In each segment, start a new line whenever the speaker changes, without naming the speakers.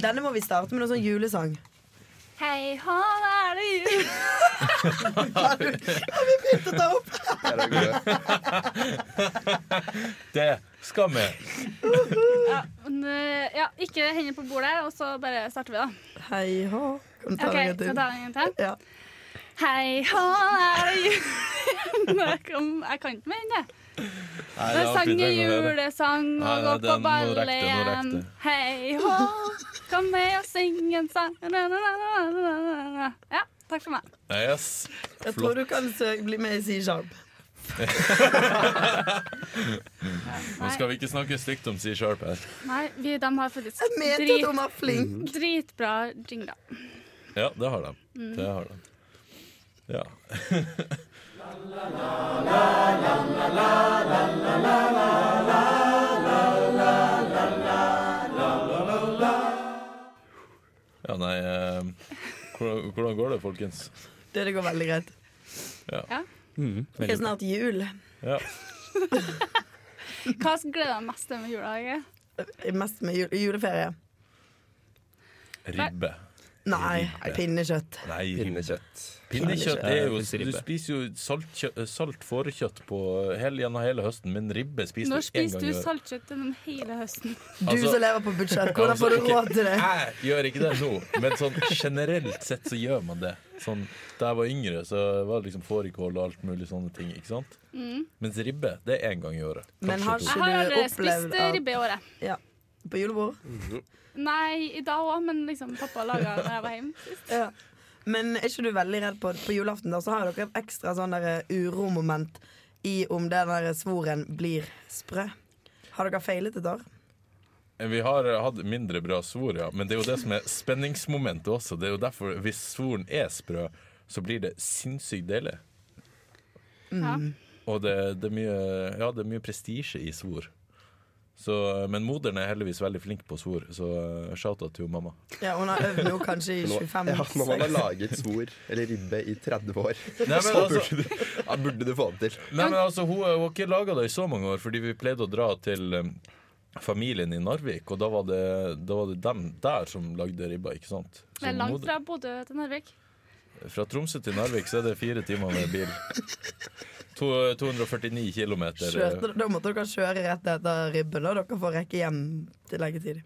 Denne må vi starte med noe sånn julesang.
Hei, hå, er det jul?
Har du- har vi begynt å ta opp?
Er det gøy?
Det skal vi.
Ja, men, eh, ja, ikke hendene på bordet, og så bare starter vi, da.
Hei hå. Kan du ta
Ok,
det en
skal jeg
til?
ta den en gang til?
Ja.
Hei, hå, er det jul? Nei, Jeg kan, jeg kan ikke mer enn det.
Nei,
Det
er
sang
alltid
i
trenger å høre.
julesang
Nei, nei,
og gå på
den- nå
ball
rekte, nå
igjen.
rekte.
Hei hå, kom med og syng en sang. Na, na, na, na, na, na, na. Ja, takk for meg.
Yes.
Jeg tror
Flott.
du kan sø- bli med i Si Sharp.
Nå skal vi ikke snakke stygt om Sea Sharp her.
Nei, vi, de har faktisk
Jeg mente at
drit,
hun var flink.
dritbra jingler.
Ja, det har de. Det har de. Ja. Ja, nei eh, hvordan, hvordan går det, folkens?
Det, det går veldig greit.
Ja.
Mm-hmm.
Det er snart jul.
Ja.
Hva gleder jeg meg mest til med jula? Hege?
Mest med jul juleferie.
Ribbe.
Nei, pinnekjøtt.
Nei, ribbe.
Pinnekjøtt.
Pinnekjøtt er jo
Pinnekjøtt.
Du spiser jo saltkjø- salt fårekjøtt på hele, gjennom hele høsten, men ribbe spiser
Når
du én
spiser
gang
du
i året.
saltkjøtt gjennom hele høsten?
Du
Altså-
som lever på budsjett, hvordan får du
Altså,
råd til det?
Jeg gjør ikke det nå, men sånn generelt sett så gjør man det. Sånn, da jeg var yngre, så var det liksom fårikål og alt mulig sånne ting. ikke sant? Mens ribbe, det er én gang i året.
Men
Kanskje
har
to.
ikke-
Jeg har
du
aldri
opplevd
spist
at-
ribbe i året.
Ja. På julebord?
Nei, i dag òg, men liksom pappa laga da jeg var hjemme.
Ja. Men er ikke du veldig redd på På julaften da, så har dere et ekstra sånn der uromoment i om den der svoren blir sprø. Har dere feilet et år?
Vi har hatt mindre bra svor, ja. Men det er jo det som er spenningsmomentet også. Det er jo derfor, Hvis svoren er sprø, så blir det sinnssykt deilig.
Mm.
Ja.
Og det, det er mye, ja, det er mye prestisje i svor. Så, men moderen er heldigvis veldig flink på svor, så eh, shout-out til mamma.
Ja, Hun har øvd nå kanskje i
Nå-
25
Ja, når man har
seks.
laget svor eller ribbe i 30 år,
Nei, men
så
altså-
burde du, ja, burde du få det til.
Nei, men altså, hun, hun har ikke laga det i så mange år, fordi vi pleide å dra til eh, familien i Narvik, og da var det, da var det dem der som lagde ribba, ikke sant? Så
Det er langt
moder-
fra Bodø til Narvik.
Fra Tromsø til Narvik så er det fire timer med bil. To, 249 kilometer.
Kjørte- Da måtte dere kjøre rett etter ribben, og dere får rekke hjem til leggetid.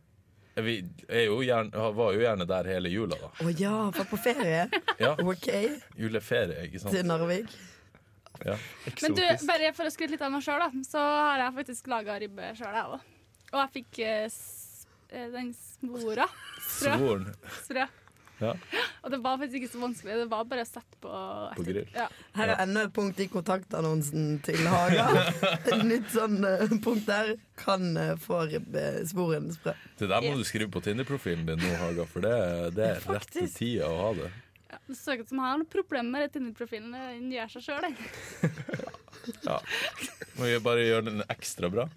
Eh, Vi er jo gjerne, var jo gjerne der hele jula, da.
Å ja, for på ferie.
Ja,
OK,
Juleferie, ikke sant.
til Narvik.
Ja.
Men du,
Eksotisk.
bare for å skryte litt av meg sjøl, da, så har jeg faktisk laga ribbe sjøl, jeg òg. Og jeg fikk eh, s- eh, den svora. Strø.
Svoren
strø.
Ja.
Og det var faktisk ikke så vanskelig. Det var bare å sette på
På grill.
Ja.
Her er enda et punkt i kontaktannonsen til Haga. Et nytt sånn eh, punkt der. Kan eh, få ribbe- svoren sprø.
Det der må du skrive på Tinder-profilen din nå, Haga, for det, det er rett i
Faktisk.
tida å ha det.
Ja. Det så ut som jeg har noen problemer med den Tinder-profilen. Den gjør seg sjøl, den.
Ja. Må vi bare gjøre den ekstra bra.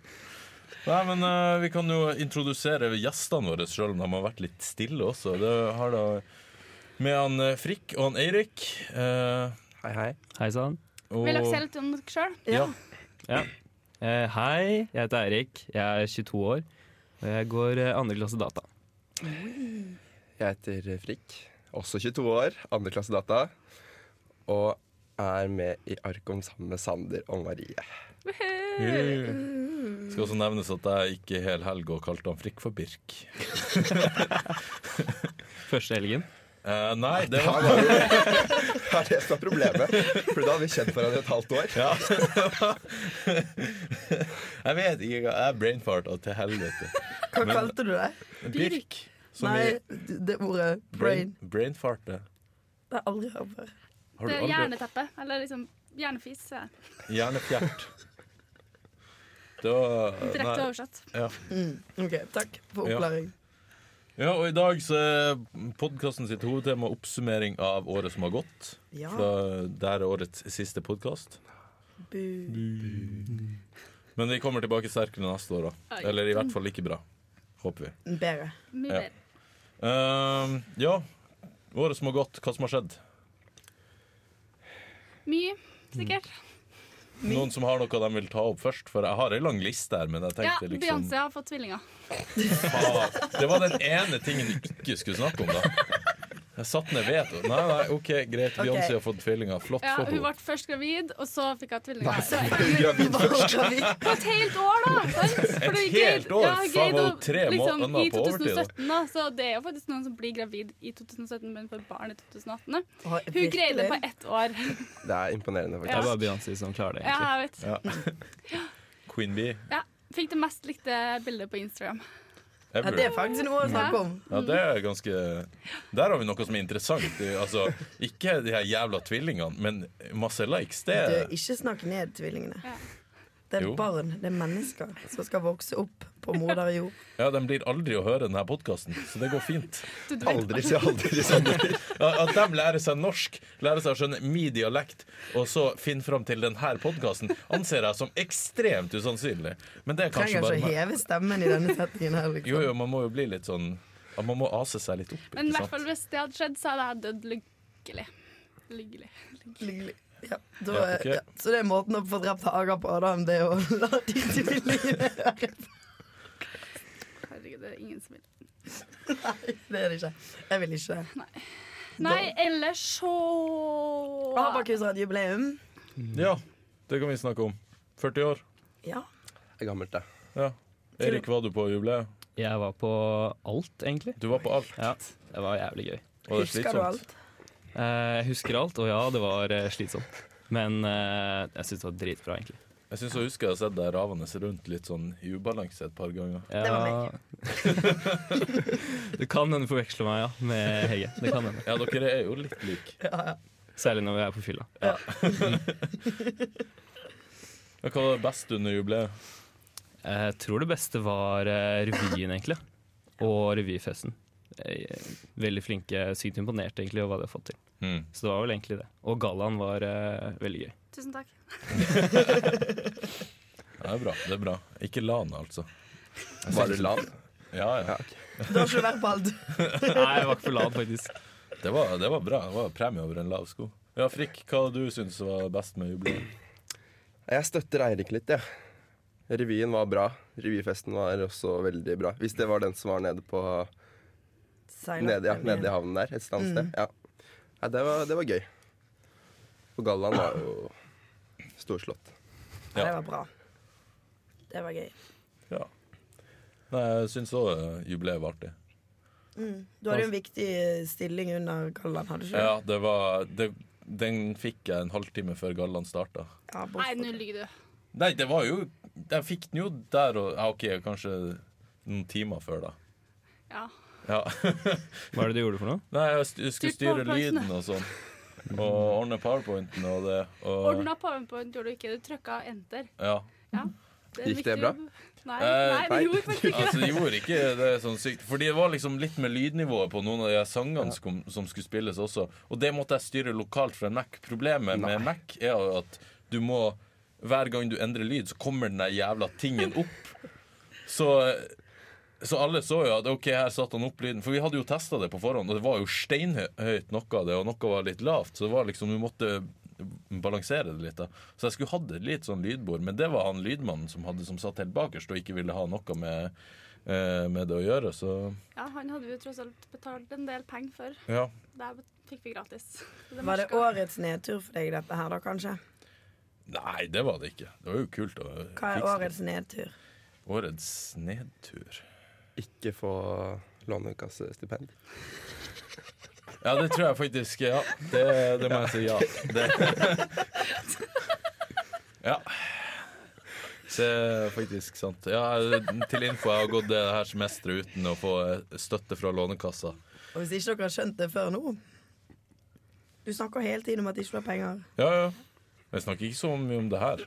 Nei, men eh, Vi kan jo introdusere gjestene våre, selv om de har vært litt stille også. Det har da med han eh, Frikk og han Eirik. eh,
Hei, hei. Hei sann.
og,
Vil dere si litt om dere sjøl?
Ja.
Ja. Eh, hei, jeg heter Eirik. Jeg er 22 år. Og jeg går eh, andre klasse data.
Jeg heter eh, Frikk, også 22 år, andreklasse data, og er med i Arkom sammen med Sander og Marie.
Skal også nevnes at jeg gikk i hel helg og kalte han Frikk for Birk.
Første helgen.
Eh, nei, det
Ja,
var
det er jo- det er det som er problemet, for da har vi kjent hverandre i et halvt år.
ja. Jeg vet ikke hva Jeg brainfarta til helvete.
Hva
Men-
kalte du det?
Birk. Som
Nei,
i
det ordet brain.
brain, brainfarte.
Det har jeg aldri hørt før.
Har du
Det er
aldri
Hjerneteppe. Eller liksom hjernefis. Ja.
Hjernefjert. Det var
Direkte
nei,
oversatt.
ja.
Mm, OK, takk for
Ja.
oppklaring.
ja, og i dag så er podkasten sitt hovedtema oppsummering av året som har gått.
Ja.
Fra det her er årets siste podkast.
Bu.
Men vi kommer tilbake sterkere neste år, da.
Oi.
Eller i hvert fall like bra. Håper vi.
Bedre.
Mye
Ja.
bedre.
Ehm, ja. Året som har gått, hva som har skjedd? Mm.
Mye, sikkert.
Noen som har noe de vil ta opp først? For jeg har ei lang liste her, men jeg
Ja,
tenkte liksom
Beyoncé har fått tvillinger.
Faen. Det var den ene tingen du ikke skulle snakke om, da. Jeg satte ned veto. Nei, nei, OK, greit. Beyoncé har fått tvillinger. Flott
Ja,
for
hun
henne.
ble først gravid, og så fikk hun tvillinger. Så
Gravid først.
På et helt år, da! Sant? For det er
helt
greit-
år?
ja,
Faen,
greit
var hun
å-
tre måneder
I
på overtid, da?
2017, da. Så det er jo faktisk noen som blir gravid i 2017, men får barn i 2018. da.
Hun
Hun greide det på ett år.
Det er imponerende,
Det er
faktisk.
bare Beyoncé som klarer det.
Ja,
egentlig.
jeg vet.
Queen Bee.
Ja. Fikk det mest likte bildet på Instagram.
ja, Det
Ever.
er faktisk noe å snakke om.
Ja, det er ganske Der har vi noe som er interessant. Det- Altså, ikke de her jævla tvillingene, men masse likes. Det
Du,
er
ikke snakk ned tvillingene.
Ja.
Det er
Jo.
barn, det er mennesker som skal vokse opp på moder jord.
Ja, De blir aldri å høre denne podkasten, så det går fint.
Du, du vet,
Aldri si aldri sånn.
Ja, At de lærer seg norsk, lærer seg å skjønne min dialekt, og så finner fram til denne podkasten, anser jeg som ekstremt usannsynlig. Men det er kanskje
Trenger
bare
ikke å
meg.
heve stemmen i denne settingen her,
Jo,
liksom.
jo, man må jo bli litt sånn ja, Man må ase seg litt opp.
Men i
Ikke
hvert
sant?
fall hvis det hadde skjedd, så hadde jeg dødd lykkelig. Lykkelig.
Lykkelig. Ja, da,
Ja, ok.
ja. Så det er måten å få drept Haga på, da, det er å la de tvillingene være
Herregud, det er ingen som vil.
Nei, det er det ikke. Jeg vil ikke det.
Nei, ellers så
Abakus har et jubileum.
Ja, det kan vi snakke om. 40 år.
Ja.
Det er gammelt, det.
Ja. Erik, var du på jubileet?
Jeg var på alt, egentlig.
Du var på alt.
Ja, Det var jævlig gøy.
Var det
Husker du
slitsomt?
alt?
Eh, Jeg husker alt, og ja, det var eh, slitsomt. Men eh, jeg syns det var dritbra, egentlig.
Jeg syns jeg husker jeg har sett deg ravende rundt litt sånn i ubalanse et par ganger.
Det var
det kan hende du forveksler meg ja, med Hege. Det kan hende.
Ja, dere er jo litt like.
Særlig når vi er på fylla.
Men hva var det beste under jubileet?
Jeg Eh, tror det beste var eh, revyen, egentlig. Og revyfesten. Eh, Veldig flinke. Sykt imponert egentlig over hva de har fått til.
Hmm.
Så det var vel egentlig det. Og gallaen var eh, veldig gøy.
Tusen takk.
Ja, det er bra. det er bra Ikke LAN, altså.
Bare LAN.
Ja, ja.
Du har ikke vært på alt.
Nei, jeg var ikke for lav, faktisk.
Det var, det var bra. Det var premie over en lav sko. Ja, Frikk, hva du syns var best med jubileet?
Jeg støtter Eirik litt, jeg. Ja. Revyen var bra. Revyfesten var også veldig bra. Hvis det var den som var nede på nede, ja, nede i havnen der. Et eller annet
Mm.
sted. Ja. Nei, det, var, det var gøy. Og gallaen var jo storslått.
Ja, det var bra. Det var gøy.
Ja. Nei, jeg syns òg jubileet var artig.
Du hadde jo en viktig stilling under Galland, hadde du ikke?
Ja, det var det, Den fikk jeg en halvtime før gallaen starta.
Ja,
Nei,
bortsett.
nå lyver du.
Nei, det var jo Jeg fikk den jo der og ja, OK, kanskje noen timer før, da.
Ja.
Ja.
Hva er det du gjorde for noe?
Nei, jeg st skulle
Styrt
styre
powerpointen.
lyden og sånn. Og ordne powerpointen og det. Og,
Ordna powerpoint gjorde du ikke. Du trykka enter.
ja.
er
Gikk det
viktig.
bra?
Nei,
Eh,
nei,
nei.
det gjorde faktisk ikke det.
Altså, de gjorde ikke det sånn sykt. Fordi det var liksom litt med lydnivået på noen av de her sangene som, kom- som skulle spilles også. Og det måtte jeg styre lokalt fra en Mac. Problemet med Mac er jo at du må Hver gang du endrer lyd, så kommer den der jævla tingen opp. Så så alle så jo at ok, her satte han opp lyden. For vi hadde jo testa det på forhånd, og det var jo steinhøyt noe av det, og noe var litt lavt. Så det var liksom, du måtte balansere det litt. da Så jeg skulle hatt et litt sånn lydbord, men det var han lydmannen som hadde som satt helt bakerst og ikke ville ha noe med, eh, med det å gjøre. Så
Ja, han hadde vi jo tross alt betalt en del penger for.
ja.
Det her fikk vi gratis. Så det
Var det
merket jeg.
årets nedtur for deg, dette her, da, kanskje?
Nei, det var det ikke. Det var jo kult å
Hva er
fikse det.
årets nedtur?
årets nedtur?
Ikke få lånekassestipend.
Ja, det tror jeg faktisk. Ja, det, det må jeg si ja. Det. Ja. Det er faktisk sant. Ja, til info, jeg har gått det her semesteret uten å få støtte fra Lånekassa.
Og hvis ikke dere har skjønt det før nå Du snakker hele tiden om at du ikke har penger.
Ja, ja. Jeg snakker ikke så mye om det her.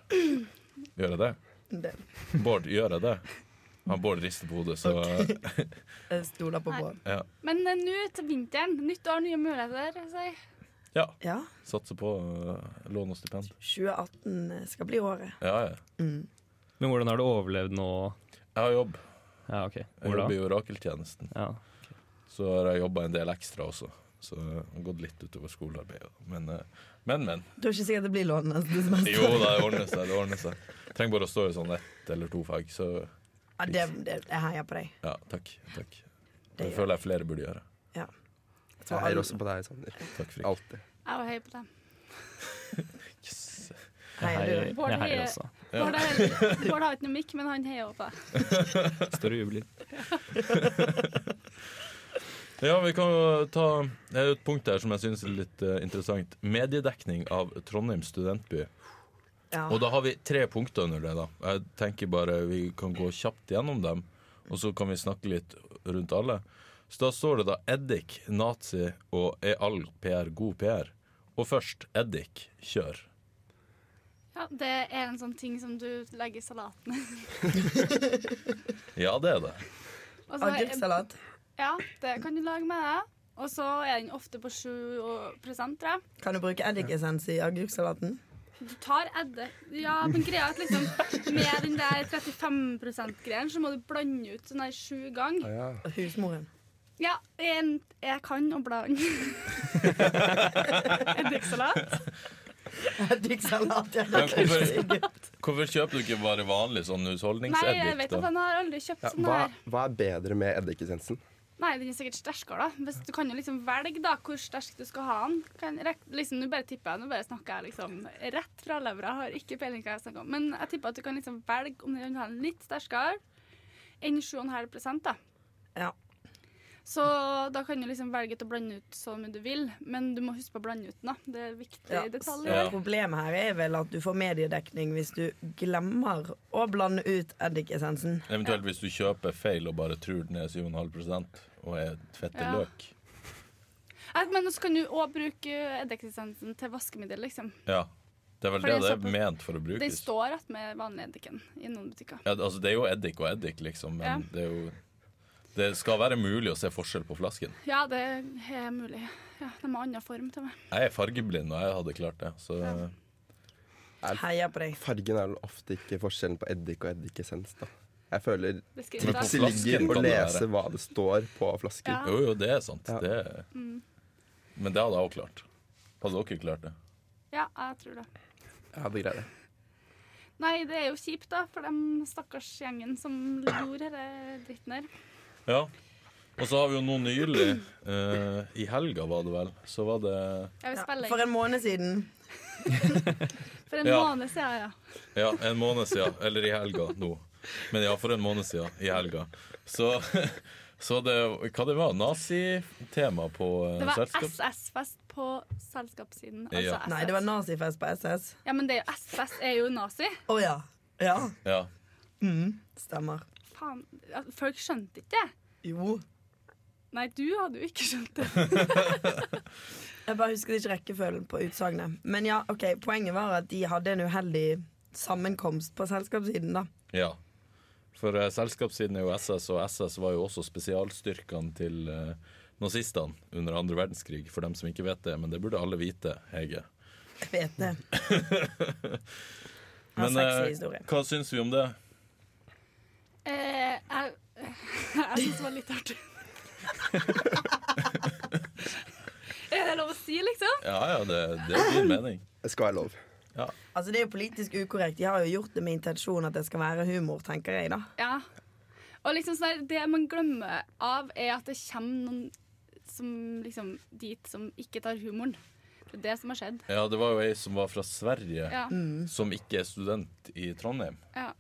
Gjør jeg det?
Det
Bård, gjør jeg det? Han Bård rister på hodet, så
jeg stoler på Bård.
ja.
Men eh, nå til vinteren. Nytt år, nye muligheter. vil jeg Si.
ja.
Ja.
Satser på eh, lån og stipend.
2018 eh, skal bli året. Mm.
Ja, ja.
Men hvordan har du overlevd nå?
Jeg har jobb.
Ja, ok.
Jeg
Hvor da?
jobber i orakeltjenesten.
Ja.
Så har jeg jobba en del ekstra også. så det har gått litt utover skolearbeidet. Men, eh, men. men.
Du er ikke sikker at det blir lån neste semester?
Jo da, det ordner seg. det ordner seg Trenger bare å stå i sånn ett eller to fag, så
Ja, det, det, jeg heier på deg.
ja, takk. takk.
Det
Det
gjør
føler jeg flere burde gjøre.
Ja. Jeg tror
Jeg heier
alle-
også på deg, Sander.
Takk, Frik.
Alltid.
Jeg var høy på dem.
Jeg
heier
heier,
du.
Bård
jeg heier
heier.
også.
Bård har Bård har ikke noe mikk, men han heier også på deg.
Står og jubler.
Ja, vi kan jo ta Det er jo et punkt der som jeg syns er litt eh, interessant. Mediedekning av Trondheim studentby.
Ja.
Og da har vi tre punkter under det, da. Jeg tenker bare vi kan gå kjapt gjennom dem, og så kan vi snakke litt rundt alle. Så da står det da eddik, nazi og er all PR god PR? Og først eddik, kjør.
Ja, det er en sånn ting som du legger i salaten.
Ja, det er det.
Og så-
Agurksalat.
Ja, det kan du lage med deg. Og så er den ofte på 7 tror jeg.
Kan du bruke eddikessens i agurksalaten?
Du tar eddik Ja, men greia er at liksom med den der 35 %-greien, så må du blande ut sånn her sju ganger.
Husmoren.
Ja, jeg, jeg kan å blande. Eddiksalat.
Eddiksalat, ja.
Men hvorfor, hvorfor kjøper du ikke bare vanlig sånn
Nei, jeg
husholdningseddik,
vet at
da?
den har aldri kjøpt
Ja,
sånn
hva,
her.
hva er bedre med eddikessensen?
Nei, den er sikkert sterkere, da. Hvis du kan jo liksom velge da hvor sterk du skal ha den. Kan, rek- liksom, nå bare tipper jeg, nå bare snakker jeg liksom rett fra levra, har ikke peiling hva jeg snakker om. Men jeg tipper at du kan liksom velge om du vil ha den litt sterkere enn 7,5 da.
Ja.
Så da kan du liksom velge til å blande ut så mye du vil, men du må huske på å blande ut den, da. Det er viktig
Ja.
detalj.
Ja.
Så Problemet her er vel at du får mediedekning hvis du glemmer å blande ut eddikessensen.
Eventuelt hvis du kjøper feil og bare tror den er 7,5 og er fette
Ja.
løk.
Ja, Men så kan du òg bruke eddikessensen til vaskemiddel, liksom.
Ja. Det er vel
For
det
den
det
står
er
på-
ment for å
Den
brukes.
står igjen med vanlig eddiken i noen butikker.
Ja, altså Det er jo eddik og eddik, liksom, men
Ja.
det er jo Det skal være mulig å se forskjell på flasken.
Ja, det er mulig. Ja, de har annen form til meg.
Jeg er fargeblind, og jeg hadde klart det. Så
Heier på deg.
Fargen er vel ofte ikke forskjellen på eddik og eddikessens, da. Jeg føler
Beskriv det.
vitsen
flasken
ligger i å
kan det
lese hva det står på flasken.
Ja.
jo, jo, det er sant.
Ja.
Det er, men det hadde jeg òg klart. Hadde dere klart det?
Ja, jeg tror det.
Ja, det greier jeg.
Nei, det er jo kjipt, da, for den stakkars gjengen som gjorde denne dritten her.
Ja. Og så har vi jo nå nylig, eh, i helga var det vel, så var det
Jeg vil
Ja.
spille
For
inn.
en måned siden.
For en
Ja.
måned siden, ja.
Ja, en måned siden. Eller i helga nå. Men ja, for en måned siden. I helga. Så, så det Hva det var Nazitema på
Det
uh,
var
selskaps...
SS-fest på selskapssiden. Altså
Ja.
SS.
Nei, det var nazifest på SS.
Ja, men det er jo SS er jo nazi.
Å ja. Ja,
Ja.
stemmer.
Faen, ja, folk skjønte ikke det.
Jo.
Nei, du hadde jo ikke skjønt det.
Jeg bare husker ikke rekkefølgen på utsagnet. Men ja, ok, poenget var at de hadde en uheldig sammenkomst på selskapssiden, da.
Ja. For eh, selskapssiden er jo SS, og SS var jo også spesialstyrkene til eh, nazistene under andre verdenskrig, for dem som ikke vet det. Men det burde alle vite, Hege.
Jeg vet det. Ja,
Men
sexy
eh,
historie.
hva syns vi om det?
Eh, jeg jeg syns det var litt artig. er det lov å si, liksom?
Ja ja, det, det er din mening.
Det skal være lov.
Altså, det er jo politisk ukorrekt. De har jo gjort det med intensjon at det skal være humor, tenker jeg, da.
Ja. Og liksom sånn her, det man glemmer av, er at det kommer noen som liksom dit som ikke tar humoren. Det er det som har skjedd.
Ja, det var jo ei som var fra Sverige,
Ja.
som ikke er student i Trondheim.
ja.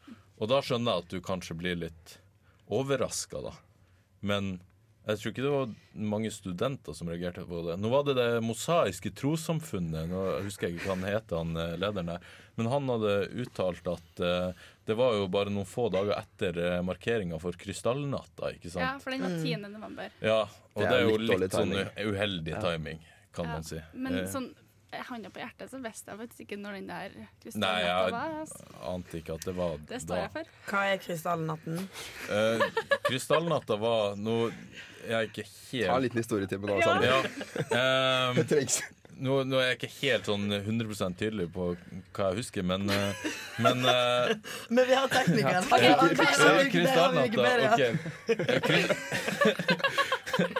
Og da skjønner jeg at du kanskje blir litt overraska, da. Men jeg tror ikke det var mange studenter som reagerte på det. Nå var det det mosaiske trossamfunnet, nå husker jeg ikke hva han het, han eh, lederen der, men han hadde uttalt at eh, det var jo bare noen få dager etter markeringa for krystallnatta, ikke
ja,
sant?
for den var 10. november.
Ja, og
Det er
det er jo
litt
litt,
dårlig
sånn
timing.
u- uheldig timing, kan
Ja.
man si.
Men
Eh,
sånn eh, hånda på hjertet, så visste jeg faktisk ikke når den der
Nei,
krystallnatta
jeg
var. Altså.
ante ikke at det var
Det står jeg for.
Hva er krystallnatten?
Eh, krystallnatta var Nå er jeg ikke helt
Ta en liten historietime nå,
Ja.
Sander.
Ja. Ehm,
Det trengs.
nå, nå er jeg ikke helt sånn 100 tydelig på hva jeg husker, men, eh, men eh,
Men vi har teknikeren.
Ok,
Ja,
hva er
Wikipedia,
ja,
Wikipedia.
Krystallnatta. ok. Eh, kry-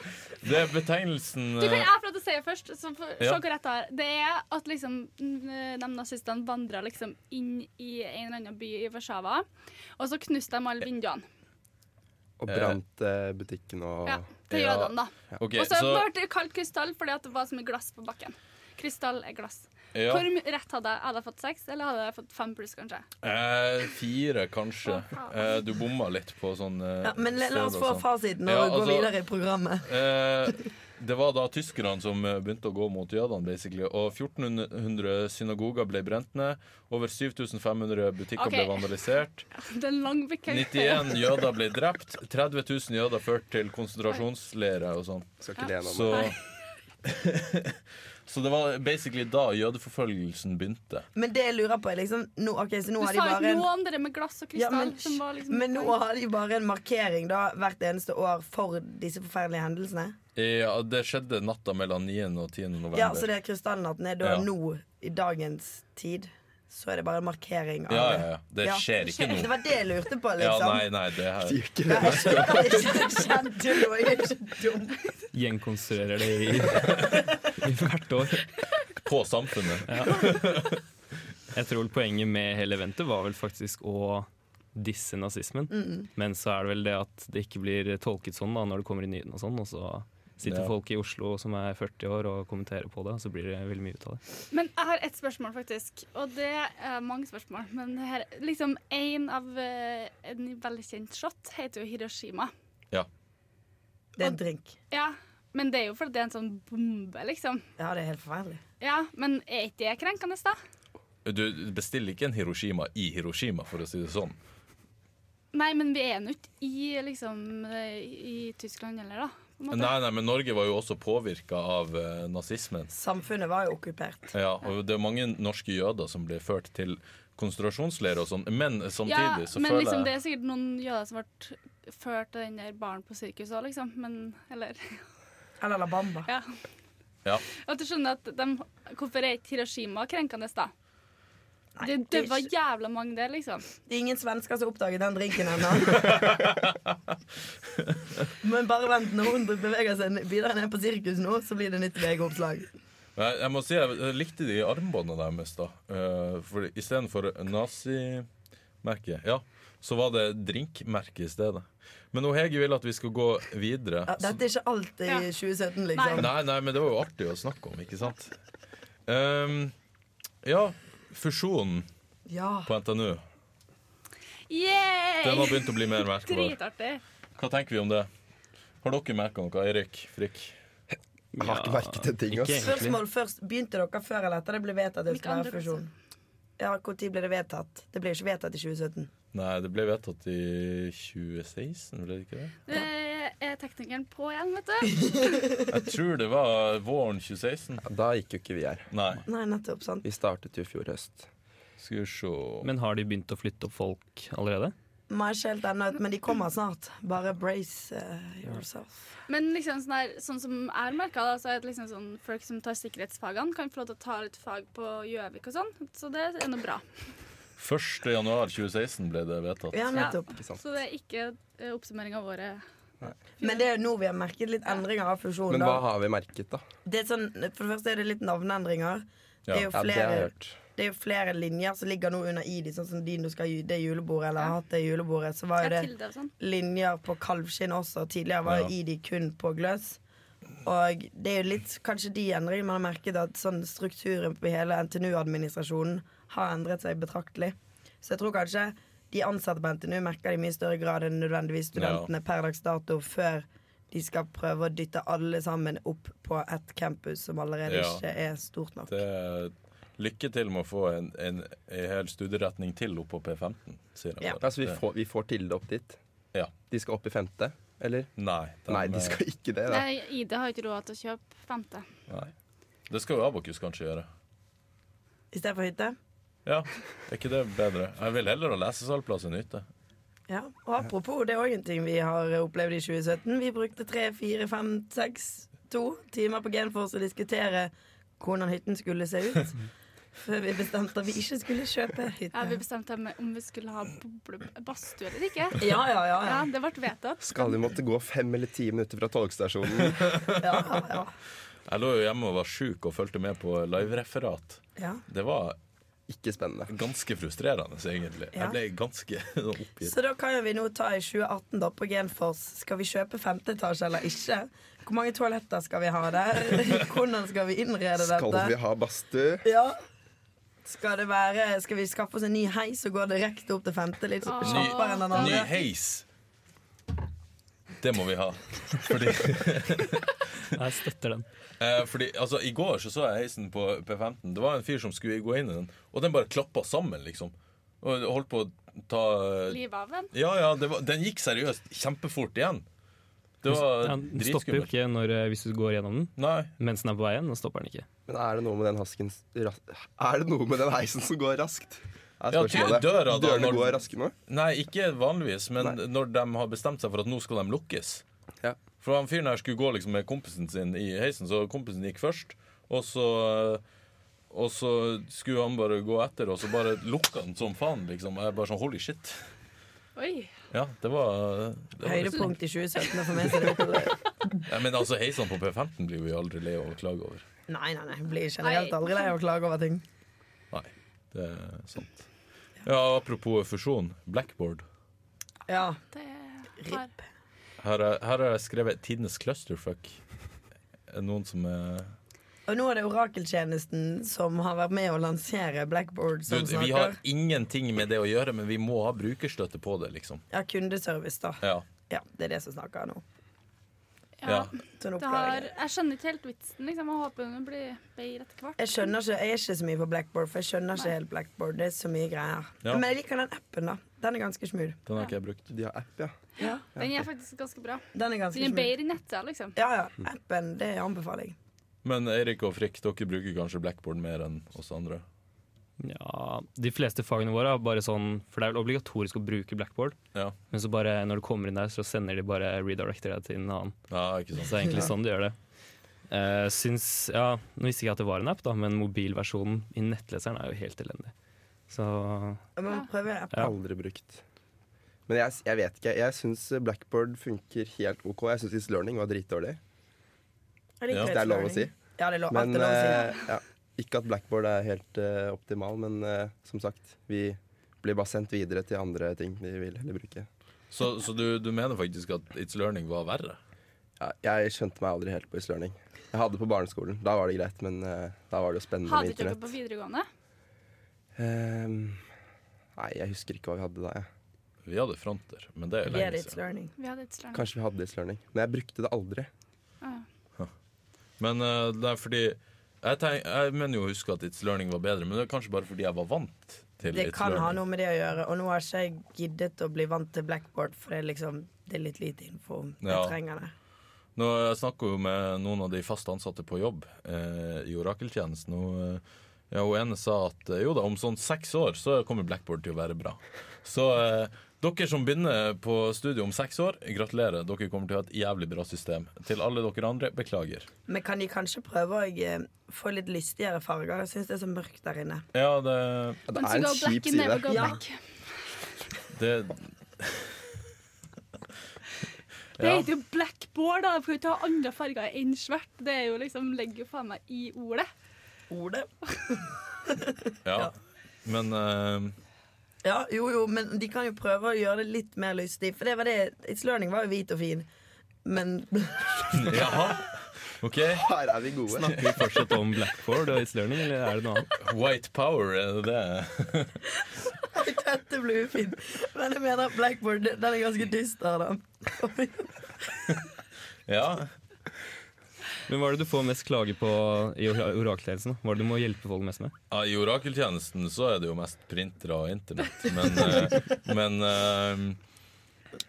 Det er betegnelsen
Du kan
eh,
jeg prate skal si det først, så for, se
Ja.
hvor rett jeg har. Det er at liksom, n- de nazistene vandra liksom inn i en eller annen by i Warszawa, og så knuste de alle vinduene.
Og brant eh, butikken og
Ja, til
Ja.
jødene, da.
eh, Ok,
Og så
så
ble det kalt krystall fordi at det var så mye glass på bakken. Krystall er glass.
ja,
Hvor mye rett hadde jeg? Hadde jeg fått seks, eller hadde jeg fått fem pluss, kanskje?
eh, fire, kanskje.
Å, faen.
Eh, du bomma litt på sånn eh,
Ja, men la, la oss
sted
få
og sånn.
fasiten og
Ja,
gå
altså-
videre i programmet.
Eh, det var da tyskerne som eh, begynte å gå mot jødene, basically. Og 1400 synagoger ble brent ned. Over 7500 butikker
Ok.
ble vandalisert.
Det er en lang bekjent.
91 jøder ble drept. 30 000 jøder ført til konsentrasjonsleirer og sånn.
Skal ikke le nå.
Så Så det var basically da jødeforfølgelsen begynte.
Men det jeg lurer på, er liksom nå, Ok, så nå
Du
har
sa
de bare
ikke
en
noe om det der med glass og
Ja,
krystall.
men,
som var liksom
men nå har de bare en markering da hvert eneste år for disse forferdelige hendelsene.
Ja, det skjedde natta mellom 9. og 10. november.
Ja, Så det er krystallnatten er da
Ja.
nå, i dagens tid, så er det bare en markering av
ja, ja, ja. Det
Ja.
skjer ikke
det. Det
nå.
var det jeg lurte på,
Ja,
liksom.
nei, nei, det her
De gjør ikke
Jeg
det.
er ikke- jeg er ikke kjent til noe, jeg er ikke dum.
Gjenkonstruerer det i, i hvert år.
På samfunnet.
Jeg tror vel poenget med hele eventet var vel faktisk å disse nazismen.
Mm,
Men så er det vel det at det ikke blir tolket sånn da når det kommer i nyhetene og sånn. Og så sitter
Ja.
folk i Oslo som er 40 år og kommenterer på det, og så blir det veldig mye ut av det.
Men jeg har ett spørsmål, faktisk. Og det er mange spørsmål. Men det her, liksom en av eh, en veldig kjent shot heter jo Hiroshima.
Det er en drink.
Ja, men det er jo fordi det er en sånn bombe, liksom.
Ja, det er helt forferdelig.
Ja, Men er ikke det krenkende, da?
Du bestiller ikke en Hiroshima i Hiroshima, for å si det sånn.
Nei, men vi er nå ikke i, liksom, eh, i Tyskland heller, da. På en måte.
Nei, nei, men Norge var jo også påvirka av eh, nazismen.
Samfunnet var jo okkupert.
Ja, og det er mange norske jøder som ble ført til konsentrasjonsleirer og sånn, men samtidig så
ja, men
føler
liksom, det
jeg
er sikkert noen jøder som ble ført til den der baren på sirkuset òg, liksom. Men, eller
Eller La Bamba.
Ja.
Ja.
At du skjønner at de, hvorfor er ikke Hiroshima krenkende, da?
Nei,
det,
det er
det var
ikke-
jævla mange der, liksom.
Det er ingen svensker som oppdaget den drinken ennå. Men bare vent, når hun beveger seg videre ned på sirkus nå, så blir det nytt VG-oppslag.
Jeg, jeg må si jeg jeg likte de armbåndene deres, da. Uh, for istedenfor nazimerket, ja, så var det drinkmerke i stedet. Men hun Hege vil at vi skal gå videre.
Ja, dette er ikke alt i
Ja.
2017,
Så-
liksom.
Nei, nei, men det var jo artig å snakke om, ikke sant? Um, ja, fusjonen
Ja.
på NTNU, den har
Yeah!
begynt å bli mer merkbar.
Dritartig.
Hva tenker vi om det? Har dere merka noe, Eirik Frikk?
Jeg har ikke
Ja,
merket en ting,
ikke
ass.
egentlig.
Spørsmål først. Begynte dere før eller etter det ble vedtatt det
Hvilke
skulle
andre
være fusjon? Ja, Når ble det vedtatt? Det ble jo ikke vedtatt i 2017.
Nei, det ble vedtatt i 2016, ble det ikke det?
Det er teknikeren på igjen, vet du.
Jeg tror det var våren 2016.
Ja, Da gikk jo ikke vi her.
Nei,
Nei, nettopp. sant
Vi startet jo i fjor høst.
skal vi se
Men har de begynt å flytte opp folk allerede?
Nei, ikke helt ennå, men de kommer snart. Bare brace eh, yourself.
Men liksom sånn, her, sånn som jeg har merka, så er det liksom sånn folk som tar sikkerhetsfagene, kan få lov til å ta litt fag på Gjøvik og sånn. Så det er nå bra.
1. januar 2016 ble det vedtatt.
Ja, nettopp.
Ikke sant?
Så det er ikke eh, oppsummering av året.
Men det er jo nå vi har merket litt endringer av fusjonen.
Men hva
Da.
har vi merket, da?
Det er sånn, for det første er det litt navneendringer. Det er jo
Ja,
Ja, det har jeg
flere,
hørt.
det er jo flere linjer som ligger nå under i de, sånn som din du skal ha det julebordet, eller har hatt det julebordet. Så var jo
Jeg
det
til det og sånn.
linjer på kalvskinn også. Tidligere var
Ja.
jo ID kun på gløs. Og det er jo litt kanskje de endringene man har merket, at sånn strukturen på hele NTNU-administrasjonen har endret seg betraktelig. Så jeg tror kanskje de ansatte på NTNU merker det i mye større grad enn nødvendigvis studentene per dags dato før de skal prøve å dytte alle sammen opp på ett campus som allerede
Ja.
ikke er stort nok.
Det er lykke til med å få en, en, en hel studieretning til opp på P15, sier jeg
Ja.
bare.
Altså, vi får, vi får Tilde opp dit.
Ja.
De skal opp i femte, eller?
Nei, de-
Nei, de skal ikke det. da
Nei, Ida har ikke råd til å kjøpe femte.
Nei. eh, Det skal jo Abokus kanskje gjøre.
I stedet for hytte.
Ja, er ikke det bedre? Jeg vil heller ha lesesalplass enn hytte.
Ja, og apropos, det er òg en ting vi har opplevd i 2017. Vi brukte tre, fire, fem, seks, to timer på Genfors å diskutere hvordan hytten skulle se ut. Før vi bestemte at vi ikke skulle kjøpe
Ja,
hytte.
vi bestemte om- om vi skulle ha boble- badstue eller ikke.
Ja, ja, ja. ja.
Ja, det ble vedtatt.
Skal de måtte gå fem eller ti minutter fra togstasjonen?
ja, ja, ja.
Jeg lå jo hjemme og var sjuk og fulgte med på livereferat.
ja.
Det var
Ikke spennende.
ganske frustrerende, egentlig.
Ja.
Jeg ble ganske oppgitt.
Så da kan jo vi nå ta i 2018 da på Genfors. Skal vi kjøpe femte etasje eller ikke? Hvor mange toaletter skal vi ha der? Hvordan skal vi innrede
Skal
dette?
vi ha badstue?
Ja. Skal, det være, skal vi skaffe oss en ny heis og gå direkte opp til femte? Litt
Åh.
Ny,
kjappere enn den
ny
andre?
heis. Det må vi ha. Fordi
Jeg støtter den.
Eh, fordi, altså, I går så, så jeg heisen på P15. Det var en fyr som skulle gå inn i den, og den bare klappa sammen, liksom. Og holdt på å ta
Livet av den.
Ja, ja, det var, den gikk seriøst kjempefort igjen. Det var
Den stopper jo
dritskummelt.
ikke når, eh, hvis du går gjennom den.
Nei.
Mens den er på veien, da stopper den ikke.
Men er det noe med den hasken s- ras Er det noe med den heisen som går raskt? Er
Ja,
spørsmålet.
til døra da,
Dørene
når-
går raske nå?
Nei, ikke vanligvis, men
Nei.
når de har bestemt seg for at nå skal de lukkes.
Ja.
For han fyren her skulle gå liksom med kompisen sin i heisen, så kompisen gikk først. Og så, og så skulle han bare gå etter, og så bare lukka han som faen, liksom. Jeg bare sånn holy shit.
Oi.
Ja, det var, det var
Høydepunkt i 2017 er for meg. så det er ikke-
Ja, Men altså, heisene på P15 blir vi aldri lei av å klage over.
Nei, nei, nei. Jeg blir generelt aldri lei av å klage over ting.
Nei, det er sant. Ja, apropos fusjon. Blackboard.
Ja.
Det har
Ripp.
Her er- her har jeg skrevet 'Tidenes clusterfuck'. Er det Noen som er
Og nå er det Orakeltjenesten som har vært med å lansere Blackboard som
du, Vi har
snakker.
ingenting med det å gjøre, men vi må ha brukerstøtte på det, liksom.
Ja, kundeservice, da.
Ja.
Ja, det er det som snakker nå.
ja.
Ja.
Sånn
Det har,
oppklaring.
jeg skjønner ikke helt vitsen, liksom. Jeg håper den blir bedre etter hvert.
Jeg skjønner ikke, jeg er ikke så mye på Blackboard, for jeg skjønner ikke helt Blackboard. Det er så mye greier.
Ja.
Men jeg liker den appen, da. Den er ganske smooth.
Den har ikke jeg brukt.
De har app, ja.
Den er faktisk ganske bra.
Den er ganske
Den er
smooth.
bedre i nettsida, liksom.
Ja, ja. Appen, det anbefaler jeg.
Men Eirik og Frikk, dere bruker kanskje Blackboard mer enn oss andre.
Ja, De fleste fagene våre er bare sånn For det er vel obligatorisk å bruke blackboard,
Ja,
men så bare når du kommer inn der, så sender de bare redirecter deg til en annen.
ja ikke
Så
sant.
det er egentlig sånn de gjør det. Eh, syns, ja, nå visste ikke jeg at det var en app, da, men mobilversjonen i nettleseren er jo helt elendig. Så
Jeg må
Ja.
prøve appen.
Ja.
Aldri brukt. Men jeg, jeg vet ikke. Jeg syns Blackboard funker helt OK. Jeg syns Is Learning var dritdårlig.
Jeg liker
Ja.
Det er lov å si.
Ja, det er lov,
Men
alt er lov å si.
eh, ja. Ikke at Blackboard er helt eh, optimal, men eh, som sagt, vi blir bare sendt videre til andre ting vi vil heller bruke.
Så, så du, du mener faktisk at It's Learning var verre?
Ja, jeg skjønte meg aldri helt på Is Learning. Jeg hadde på barneskolen. Da var det greit, men eh, da var det jo spennende
Hadde
med
ikke dere
internett.
på videregående?
Ehm, nei, jeg husker ikke hva vi hadde da. Jeg.
Vi hadde fronter, men det er
Vi er
lenge
litt
siden.
learning.
Vi hadde et slang.
Kanskje vi hadde Is Learning, men jeg brukte det aldri.
Men eh, det er fordi jeg, tenk, jeg mener jo å huske at It's Learning var bedre, men det er kanskje bare fordi jeg var vant til
Det
It's
kan ha
Learning.
noe med det å gjøre. Og nå har ikke jeg giddet å bli vant til Blackboard, for det er liksom det er litt lite info. Jeg
Ja.
trenger det.
Nå jeg snakker jo med noen av de fast ansatte på jobb eh, i orakeltjenesten. Og eh, ja, hun ene sa at eh, jo da, om sånn seks år så kommer Blackboard til å være bra. Så eh, dere som begynner på studiet om seks år, gratulerer. Dere kommer til å ha et jævlig bra system. Til alle dere andre, beklager.
Men kan de kanskje prøve å eh, få litt lystigere farger? Jeg syns det er så mørkt der inne.
Ja, det,
Ja, det
Once
er
you
en
go black,
kjip
you never go
side.
Ja.
back.
det
Det heter jo blackboard, da. Du kan jo ikke ha andre farger enn svart. Det er jo liksom, legger jo faen meg i ordet.
Ordet
Ja. Men eh,
Ja, jo, jo, men de kan jo prøve å gjøre det litt mer lystig. For det var det It's Learning var jo hvit og fin. Men
Jaha. OK.
Her er vi gode.
snakker vi fortsatt om blackboard og it's learning, eller er det noe annet?
White power, er det det?
dette ble ufint. Men jeg mener Blackboard, den er ganske dyster, da.
Ja.
Men hva er det du får mest klage på i or- orakeltjenesten? da? Hva er det du må hjelpe folk mest med?
ja I orakeltjenesten så er det jo mest printere og internett, men, eh, men eh,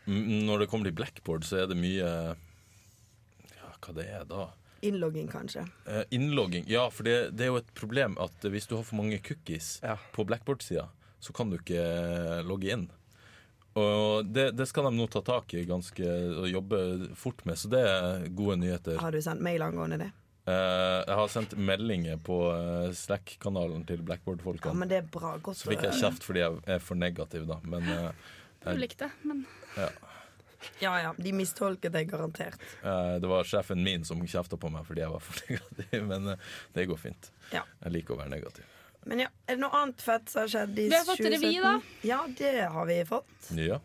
m- når det kommer til blackboard, så er det mye Ja, hva det er da?
Innlogging, kanskje.
Eh, Innlogging. Ja, for det, det er jo et problem at hvis du har for mange cookies
Ja.
på blackboard-sida, så kan du ikke logge inn. Og det, det skal de nå ta tak i ganske, og jobbe fort med, så det er gode nyheter.
Har du sendt mail angående det?
Eh, jeg har sendt meldinger på eh, Slack-kanalen til Blackboard-folkene.
Ja, men det er bra. Godt
Så fikk jeg
høre.
kjeft fordi jeg er for negativ, da. Men eh,
Ulikt det, men
Ja, ja. De mistolket deg garantert.
eh, det var sjefen min som kjefta på meg fordi jeg var for negativ. Men eh, det går fint.
Ja.
Jeg liker å være negativ.
Men ja, er det noe annet fett som har skjedd i 2017?
Vi har fått revy, da.
Ja, det har vi fått.
Ja,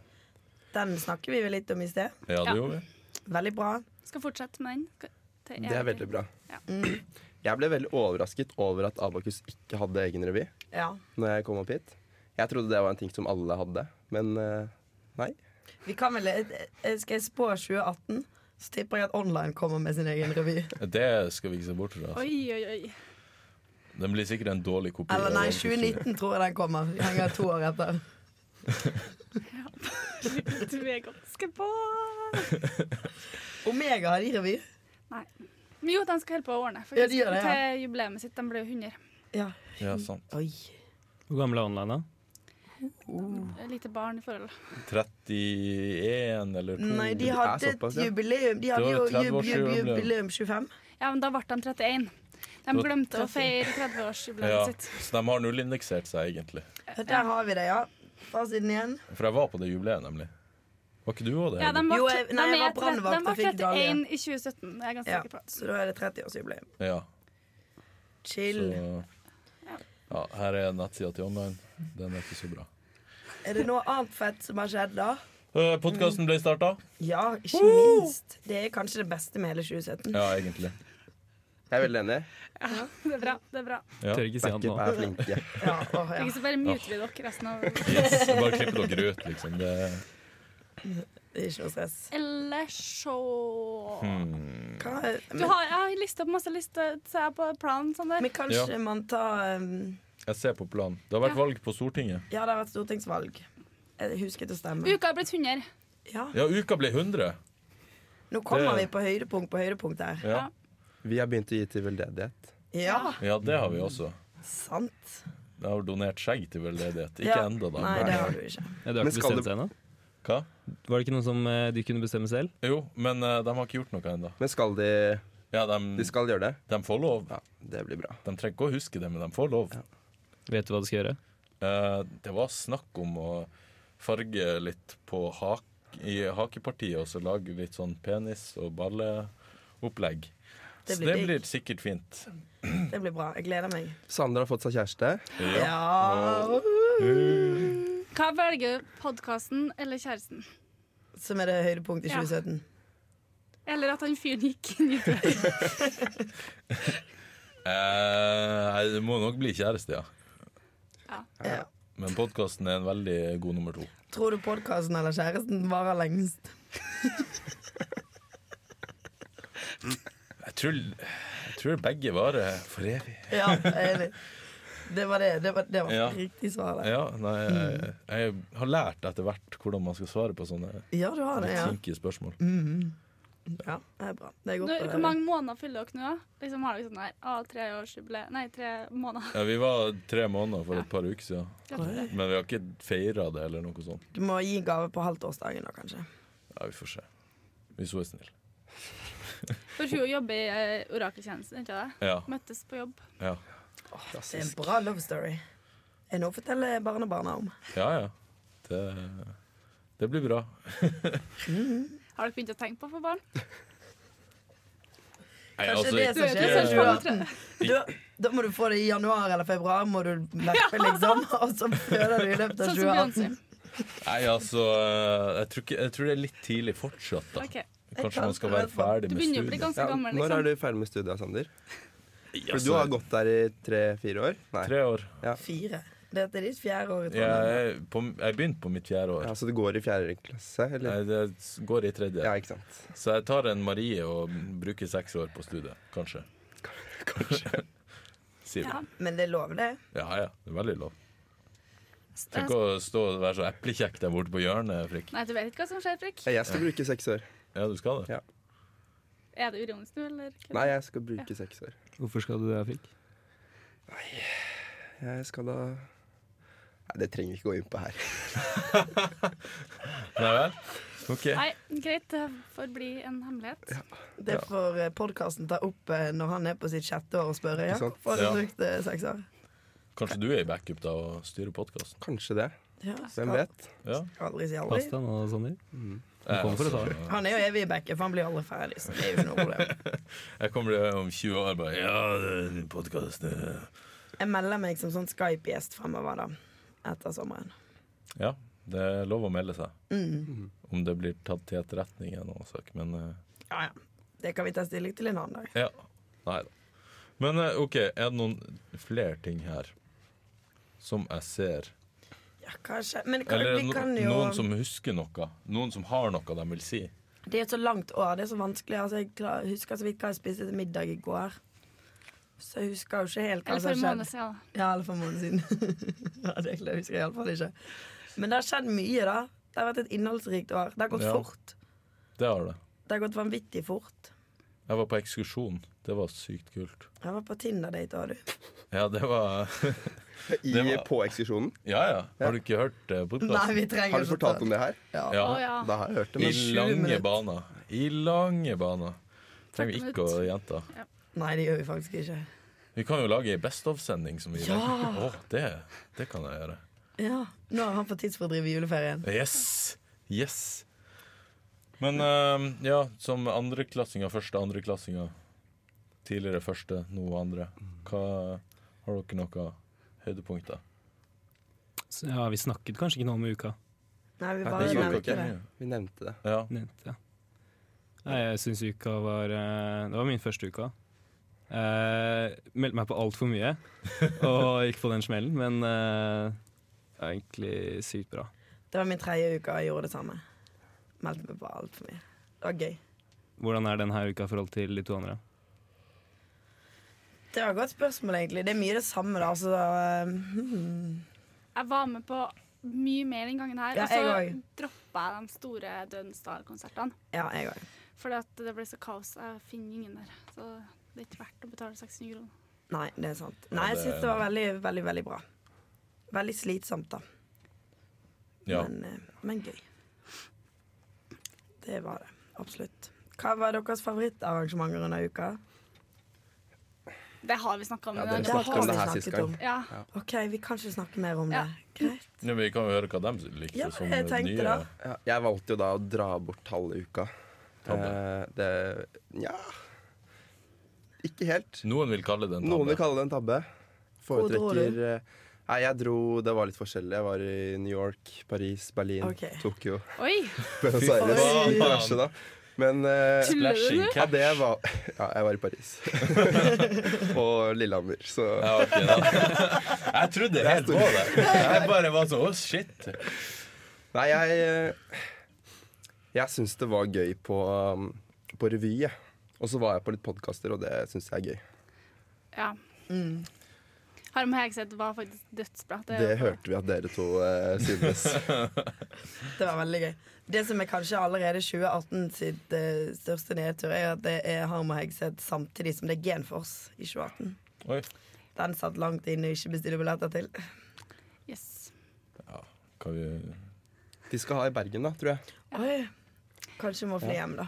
Den snakker vi vel litt om i sted.
ja det
Ja.
gjorde vi.
Veldig bra.
skal fortsette med den. Skal- til
Det er
evig.
veldig bra.
Ja.
Mm,
Jeg ble veldig overrasket over at Abakus ikke hadde egen revy
Ja.
når jeg kom opp hit. Jeg trodde det var en ting som alle hadde, men eh, nei.
Vi kan vel eh, Skal jeg spå 2018, så tipper jeg at Online kommer med sin egen revy.
Det skal vi ikke se bort fra. Altså.
Oi, oi, oi.
Den blir sikkert en dårlig kopi.
Eller nei,
av den kulturen.
2019 tror jeg den kommer. Jeg henger to år etter.
Du er ganske på
Omega har de revy.
Men Jo, de skal holde på å ordne faktisk,
Ja, de gjør det, ja.
til jubileet sitt. De blir jo 100.
Ja.
Ja, sånn. sant.
Oi.
Hvor gammel er online, da?
Et lite barn i forhold.
31 eller 2
Nei, de
er
hadde
såpass,
et
ja.
jubileum. De hadde
Det
jo
var 30
jub,
års
jub,
jubileum.
jubileum 25.
Ja, men da ble de 31. De
var
glemte å
30.
feire 30-årsjubileet
Ja,
sitt.
så de har nullindeksert seg, egentlig.
Der har vi det, ja. Fasiten igjen.
For jeg var på det jubileet, nemlig. Var ikke du òg det?
Ja, de
Henrik?
var,
Jo, jeg- nei,
de
jeg var
er tre-
brannvakt
de
og fikk
var
medalje.
31 i 2017, det er jeg ganske
Ja,
sikker på.
så da er det 30-årsjubileum.
ja.
Chill.
Så, ja, her er nettsida til online. Den er ikke så bra.
Er det noe annet fett som har skjedd da?
Uh, Podkasten ble starta.
Ja, ikke minst. Det er kanskje det beste med hele 2017.
Ja, egentlig.
Jeg er veldig enig.
Det er bra. det er bra
Ja.
Tør ikke si han
Backup
nå.
er flinke.
Ja, åh, ja.
Ikke så bare muter vi dere resten av
Yes. Bare klippe dere ut, liksom. Det,
Det er ikke noe stress.
Ellers så
hmm.
Hva,
Du
men,
har, Jeg har lista opp masse lister, så jeg er på planen sånn der.
men kanskje man tar um,
Jeg ser på planen. Det har vært
Ja.
valg på Stortinget.
Ja, det har vært stortingsvalg. Jeg husket å stemme.
Uka har blitt 100.
Ja.
Ja, uka ble 100.
Nå kommer vi
Det-
på høydepunkt på høydepunkt her.
Ja,
Vi har begynt å gi til veldedighet.
Ja,
ja det har vi også.
sant.
Jeg har donert skjegg til veldedighet. Ikke
Ja.
ennå, da.
Nei,
men-
det har du ikke.
Ja, du har
Men
ikke
skal
bestemt
det-
deg ennå?
Hva?
Var det ikke noe som eh, du kunne bestemme selv?
Jo, men eh, de har ikke gjort noe ennå.
Men skal de
Ja,
De
Mm.
de,
skal gjøre det?
de får lov.
Ja, det blir bra.
De trenger ikke å huske det, men de får lov.
Vet du hva du skal gjøre?
Eh, det var snakk om å farge litt på hak i hakepartiet og så lage litt sånn penis- og balleopplegg.
Det
så
blir digg.
det blir sikkert fint.
Det blir bra. Jeg gleder meg.
Sandra har fått seg kjæreste.
Ja.
Ja.
Hva velger du? Podkasten eller kjæresten?
Som er det høydepunktet i
Ja.
2017.
Eller at han fyren gikk inn i det.
Eh, nei, det må nok bli kjæreste, ja.
Ja.
Men podkasten er en veldig god nummer to.
Tror du podkasten eller kjæresten varer lengst?
Jeg tror, jeg tror begge varer for evig.
Ja, jeg er enig. Det var det. Det var, det var
Ja.
riktig svar. der.
Ja, nei, jeg, jeg har lært etter hvert hvordan man skal svare på sånne
Ja, du har det.
litt
Ja. Mm-hmm.
kinkige spørsmål.
ja, det er bra. Det er
Nå,
godt å
Hvor
høre.
mange måneder fyller dere nå? Liksom har dere sånn her, ah, tre årsjubileum Nei, tre måneder.
Ja, vi var tre måneder for et par uker siden,
Gratulerer.
men vi har ikke feira det eller noe sånt.
Du må gi en gave på halvtårsdagen da, kanskje.
Ja, vi får se. Hvis hun er snill.
For hun jobber i eh, orakeltjenesten, ikke det?
Ja.
Møttes på jobb.
Ja,
Det er en bra love story. Er noe å fortelle barnebarna om?
ja. ja. Det, det blir bra.
Har dere begynt å tenke på å få barn?
Nei,
Kanskje
altså,
det sånn-
Du
som
vet,
skjer
det
i
ser ut sånn som
2018. Du, da må du få det i januar eller februar, må du merke, liksom. Og så føder du i løpet
Sånn
av
som Beyoncé.
2018.
nei, altså eh, jeg, tror ikke, jeg tror det er litt tidlig fortsatt, da.
Ok.
Kanskje man skal være ferdig
Du
med
begynner å bli
studiet.
ganske gammel,
når er
liksom.
du ferdig med studiet, Sander? For
Altså,
du har gått der i tre-fire år? Nei.
Tre år.
Fire. Dette er ditt fjerde år i
Jeg,
Trondheim.
er på, jeg begynte på mitt fjerde år.
Ja, så du går i fjerde klasse, eller?
Jeg, det går i
Ja,
tredje.
ikke sant.
Så jeg tar en Marie og bruker seks år på studiet. Kanskje. Kanskje. Sier
Ja.
vi.
Men det er lov, det.
Ja ja, det er veldig lov. Tenk å stå og være så eplekjekk der borte på hjørnet, Frikk.
Nei, du vet ikke hva som skjer, Frikk.
Ja, jeg skal bruke seks år.
Ja, du skal det?
Er det ironisk nå, eller?
Nei, jeg skal bruke seks år.
Hvorfor skal du det, Frikk?
Jeg skal da Nei, det trenger vi ikke gå inn på her.
Nei vel? Ok.
Nei, greit. Det får bli en hemmelighet.
Det får podkasten ta opp eh, når han er på sitt sjette år og spørre. Ja,
Ikke sant?
hvorfor har
Ja.
du brukt eh, seks år?
Kanskje du er i backup da og styrer podkasten?
Kanskje det.
Ja,
Hvem
skal-
vet? Mm.
Ja.
Aldri si aldri.
Pass deg nå, Sander. Du kommer for å ta det.
Han er jo evig backer, for han blir aldri ferdig. Så det er jo ikke noe problem.
Jeg kommer til om 20 år bare Ja, podkasten
Jeg melder meg som sånn Skype-gjest fremover, da. Etter sommeren.
Ja, det er lov å melde seg.
Mm.
Om det blir tatt til etterretning er en annen sak, men eh,
Ja, ja. Det kan vi ta stilling til en annen dag.
ja. Nei da. Men eh, OK, er det noen flere ting her som jeg ser?
Ja, kanskje. Men kan,
Eller
vi
no
kan jo
noen som husker noe? Noen som har noe de vil si?
Det er et så langt år. Det er så vanskelig. Altså, jeg klar, husker så vidt hva jeg spiste til middag i går. Så jeg husker jo ikke helt hva
Eller for
som
en
har
måned
skjedd.
siden. da.
Ja, eller for en måned siden. ja, det husker jeg husker iallfall ikke. Men det har skjedd mye, da. Det har vært et innholdsrikt år. Det har gått
Ja.
fort.
Det har det.
Det har gått vanvittig fort.
Jeg var på ekskursjon. Det var sykt kult.
Jeg var på Tinder-date òg, du.
Ja, det var
I
Det var-
På ekskursjonen.
Ja ja. Har du ikke hørt eh,
Nei,
podkasten?
vi trenger
Har du
ikke
fortalt om det her?
Ja.
Ja.
Å ja.
Da har jeg hørt det.
I
Men
sju
lange
minutter.
baner. I lange baner. Trenger vi ikke å gjenta.
Nei, det gjør vi faktisk ikke.
Vi kan jo lage ei Best of-sending som vi
Ja!
Åh, det, det kan jeg gjøre.
Ja, Nå har han fått tidsfordriv i juleferien.
Yes! Yes! Men eh, ja, som andreklassinger, første andreklassinger Tidligere første, nå andre. Hva, har dere noen høydepunkter?
Så, Ja, vi snakket kanskje ikke noe om uka.
Nei, vi
Nei,
bare
det gjorde vi
nevnte
ikke.
det.
vi nevnte det.
Ja.
Nevnte, ja. Nei, jeg syns uka var eh, Det var min første uka. Eh, meldte meg på altfor mye og gikk på den smellen, men eh, det var egentlig sykt bra.
Det var min tredje uke, og jeg gjorde det samme. Meldte meg på alt for mye. Det var gøy.
Hvordan er denne uka i forhold til de to andre?
Det var et godt spørsmål, egentlig. Det er mye det samme, da. Så, hmm.
Jeg var med på mye mer den gangen her.
Ja,
og så
jeg òg.
droppa jeg de store Dønsdal-konsertene.
Ja, jeg òg.
Fordi at det ble så kaos. Jeg finner ingen der. Så det er ikke verdt å betale 600 kroner.
Nei, det er sant. Nei, jeg
det-
syns det var veldig, veldig, veldig bra. Veldig slitsomt, da.
ja.
Men, eh, men gøy. Det var det. Absolutt. Hva var deres favorittarrangementer under uka?
Det har vi snakka om.
Ja,
i
dere
den
Det har
snakket om
vi
det
podcasten.
her sist
snakket
gang.
om.
Ja.
OK, vi kan ikke snakke mer om
Ja.
det. Greit.
Ja, vi kan jo høre hva de likte
Ja,
som
jeg
det
tenkte
nye.
da.
Ja, jeg valgte jo da å dra bort halve uka. Eh,
Tabbe.
det Nja Ikke helt.
Noen vil kalle det en
Noen vil
tabbe.
kalle det en tabbe.
Hvor dro
Foretrekker
du?
eh, Nei, jeg dro Det var litt forskjellig. Jeg var i New York, Paris, Berlin,
Ok.
Tokyo,
Oi!
Buenos
faen.
Aires. Litt diverse, da. Men eh,
Tuller du
Flashing
nå?
ja,
cap.
det var Ja, jeg var i Paris. Og Lillehammer, så
Ja, ok, da. Jeg trodde helt på det. Jeg bare var sånn Å, shit.
Nei, jeg eh, Jeg syns det var gøy på, um, på revy, jeg. Og så var jeg på litt podkaster, og det syns jeg er gøy.
Ja.
Mm.
Harm Hegseth var faktisk dødsbra. Det,
Det hørte vi at dere to eh, synes.
Det var veldig gøy. Det som er kanskje allerede 2018 sitt eh, største nedtur, er at det er Harm og Hegseth samtidig som det er Genforce i 2018.
Oi.
Den satt langt inne og ikke bestiller billetter til.
Yes.
Kan vi
De skal ha i Bergen, da, tror jeg.
Oi. Kanskje må fly hjem, da.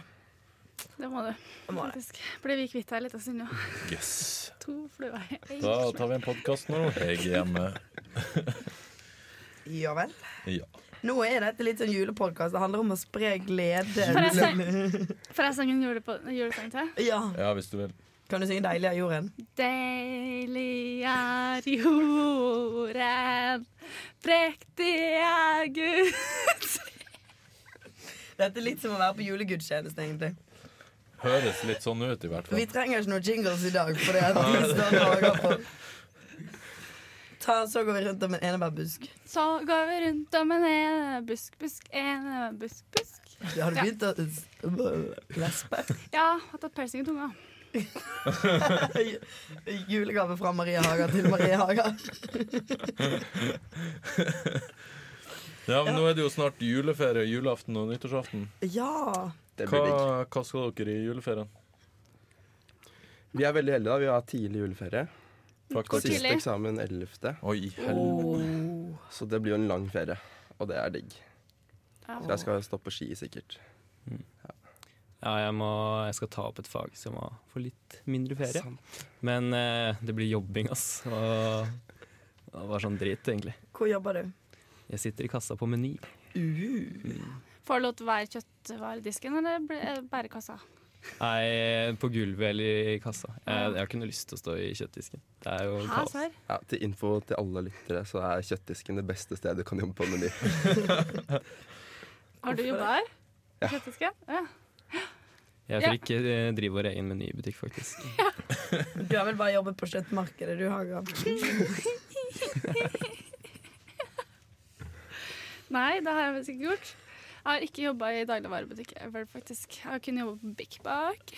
Det må du.
Jeg må det.
Faktisk. Ble vi kvitt deg litt av Sunniva?
Yes.
To fluer i en
Da
smekk.
tar vi en podkast når Hege er hjemme.
Ja vel.
Ja.
Nå er dette litt sånn julepodkast. Det handler om å spre glede.
Får jeg sang- Får jeg sange en julepo- julesang til?
Ja.
ja, hvis du vil.
Kan du synge 'Deilig av jorden'?
Deilig er jorden, prektig er Gud.
Dette er litt som å være på julegudstjeneste, egentlig.
Høres litt sånn ut, i hvert
Vi
fall.
trenger ikke noen jingles i dag, for det er at vi står og lager på. Ta, så går vi rundt om en enebærbusk.
Så går vi rundt om en enebusk, busk, enebusk, busk.
Ja, Har du begynt å s- lespe?
Ja, har tatt persing i tunga.
Julegave fra Maria Haga til Maria Haga.
Ja, men Nå er det jo snart juleferie. Julaften og nyttårsaften.
Ja.
Det blir digg.
Hva, hva skal dere i juleferien?
Vi er veldig heldige, da. Vi har tidlig juleferie.
Hvor
Faktisk.
tid?
Siste
tidlig?
eksamen 11.,
Oi, i helvete.
Oh.
så det blir jo en lang ferie. Og det er digg. Så jeg skal stå på ski, sikkert.
Ja, jeg, må, jeg skal ta opp et fag, så jeg må få litt mindre ferie.
Sant.
Men eh, det blir jobbing, ass. Og, og det var sånn drit, egentlig.
Hvor jobber du?
Jeg sitter i kassa på Meny.
Uh.
Får du lov til å være kjøttvaredisken, eller blir- er det bare kassa?
Nei, på gulvet eller i kassa. Jeg, jeg har ikke noe lyst til å stå i kjøttdisken. Det er jo
Hæ,
kaos.
serr?
Ja, til info til alle lyttere, så er kjøttdisken det beste stedet du kan jobbe på Meny.
Har du jobba her? I Kjøttdisken? Ja.
Jeg
Ja.
får ikke eh, drive vår egen menybutikk, faktisk.
Du har vel bare jobbet på kjøttmarkedet, du, Haga.
Nei, det har jeg faktisk ikke gjort. Jeg har ikke jobba i dagligvarebutikk ever, faktisk. Jeg har kun jobba på Bik Bak.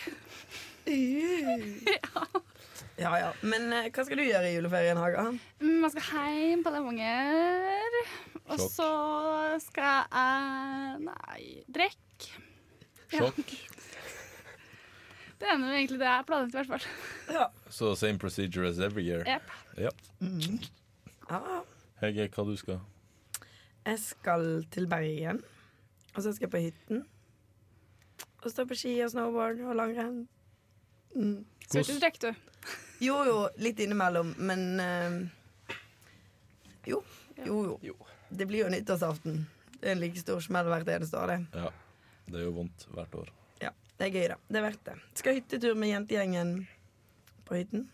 Ja ja. Men eh, hva skal du gjøre i juleferien, Haga?
Mm, Jeg skal hjem på Levanger. Og
Sjokk.
så skal jeg Nei, drikke.
Sjokk.
Det er nå egentlig det jeg har planlagt, i hvert fall.
Ja.
Så same procedure as every year.
Jep.
Ja.
ja.
Hege, hva du skal?
Jeg skal til Bergen, og så skal jeg på hytten. Og stå på ski og snowboard og langrenn.
Skal ikke drikke, du.
Jo jo, litt innimellom, men eh, jo, jo jo. Det blir jo nyttårsaften. Det er en like stor smell hvert eneste år, det.
Ja. Det er jo vondt hvert år.
Ja, det er gøy, da. Det er verdt det. Skal hyttetur med jentegjengen på hytten.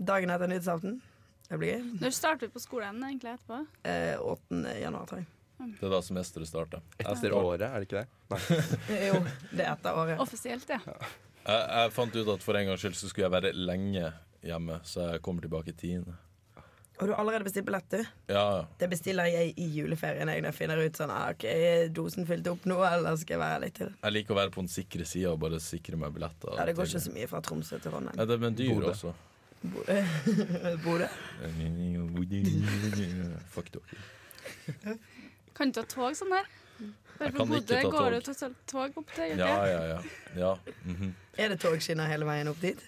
Dagen etter nyttårsaften. Det blir gøy.
Når starter vi på skolen egentlig etterpå?
Eh, 8. januar, tror jeg.
Det er da semesteret starter.
Etter året, er det ikke det?
Eh, Jo, det er etter året.
Offisielt, ja.
Jeg, jeg fant ut at for en gangs skyld så skulle jeg være lenge hjemme, så jeg kommer tilbake i tiende.
Og du har allerede bestilt billett, du?
Ja, ja.
Det bestiller jeg i juleferien jeg, når jeg finner ut sånn ah, OK, er dosen fylt opp nå, eller skal jeg være litt til?
Jeg liker å være på den sikre sida og bare sikre meg billetter.
Ja, det går
til-
ikke så mye fra Tromsø til Trondheim.
Nei, det er med dyr
Bodø.
også.
Bodø.
Fuck dere.
Kan du ta tog sånn her? Bare
Jeg
fra
kan ikke
Bodø
ta
går det
tog.
tross alt tog opp til
Ja,
Gjøvik.
ja, ja. ja. mhm.
Er det togskinner hele veien opp dit?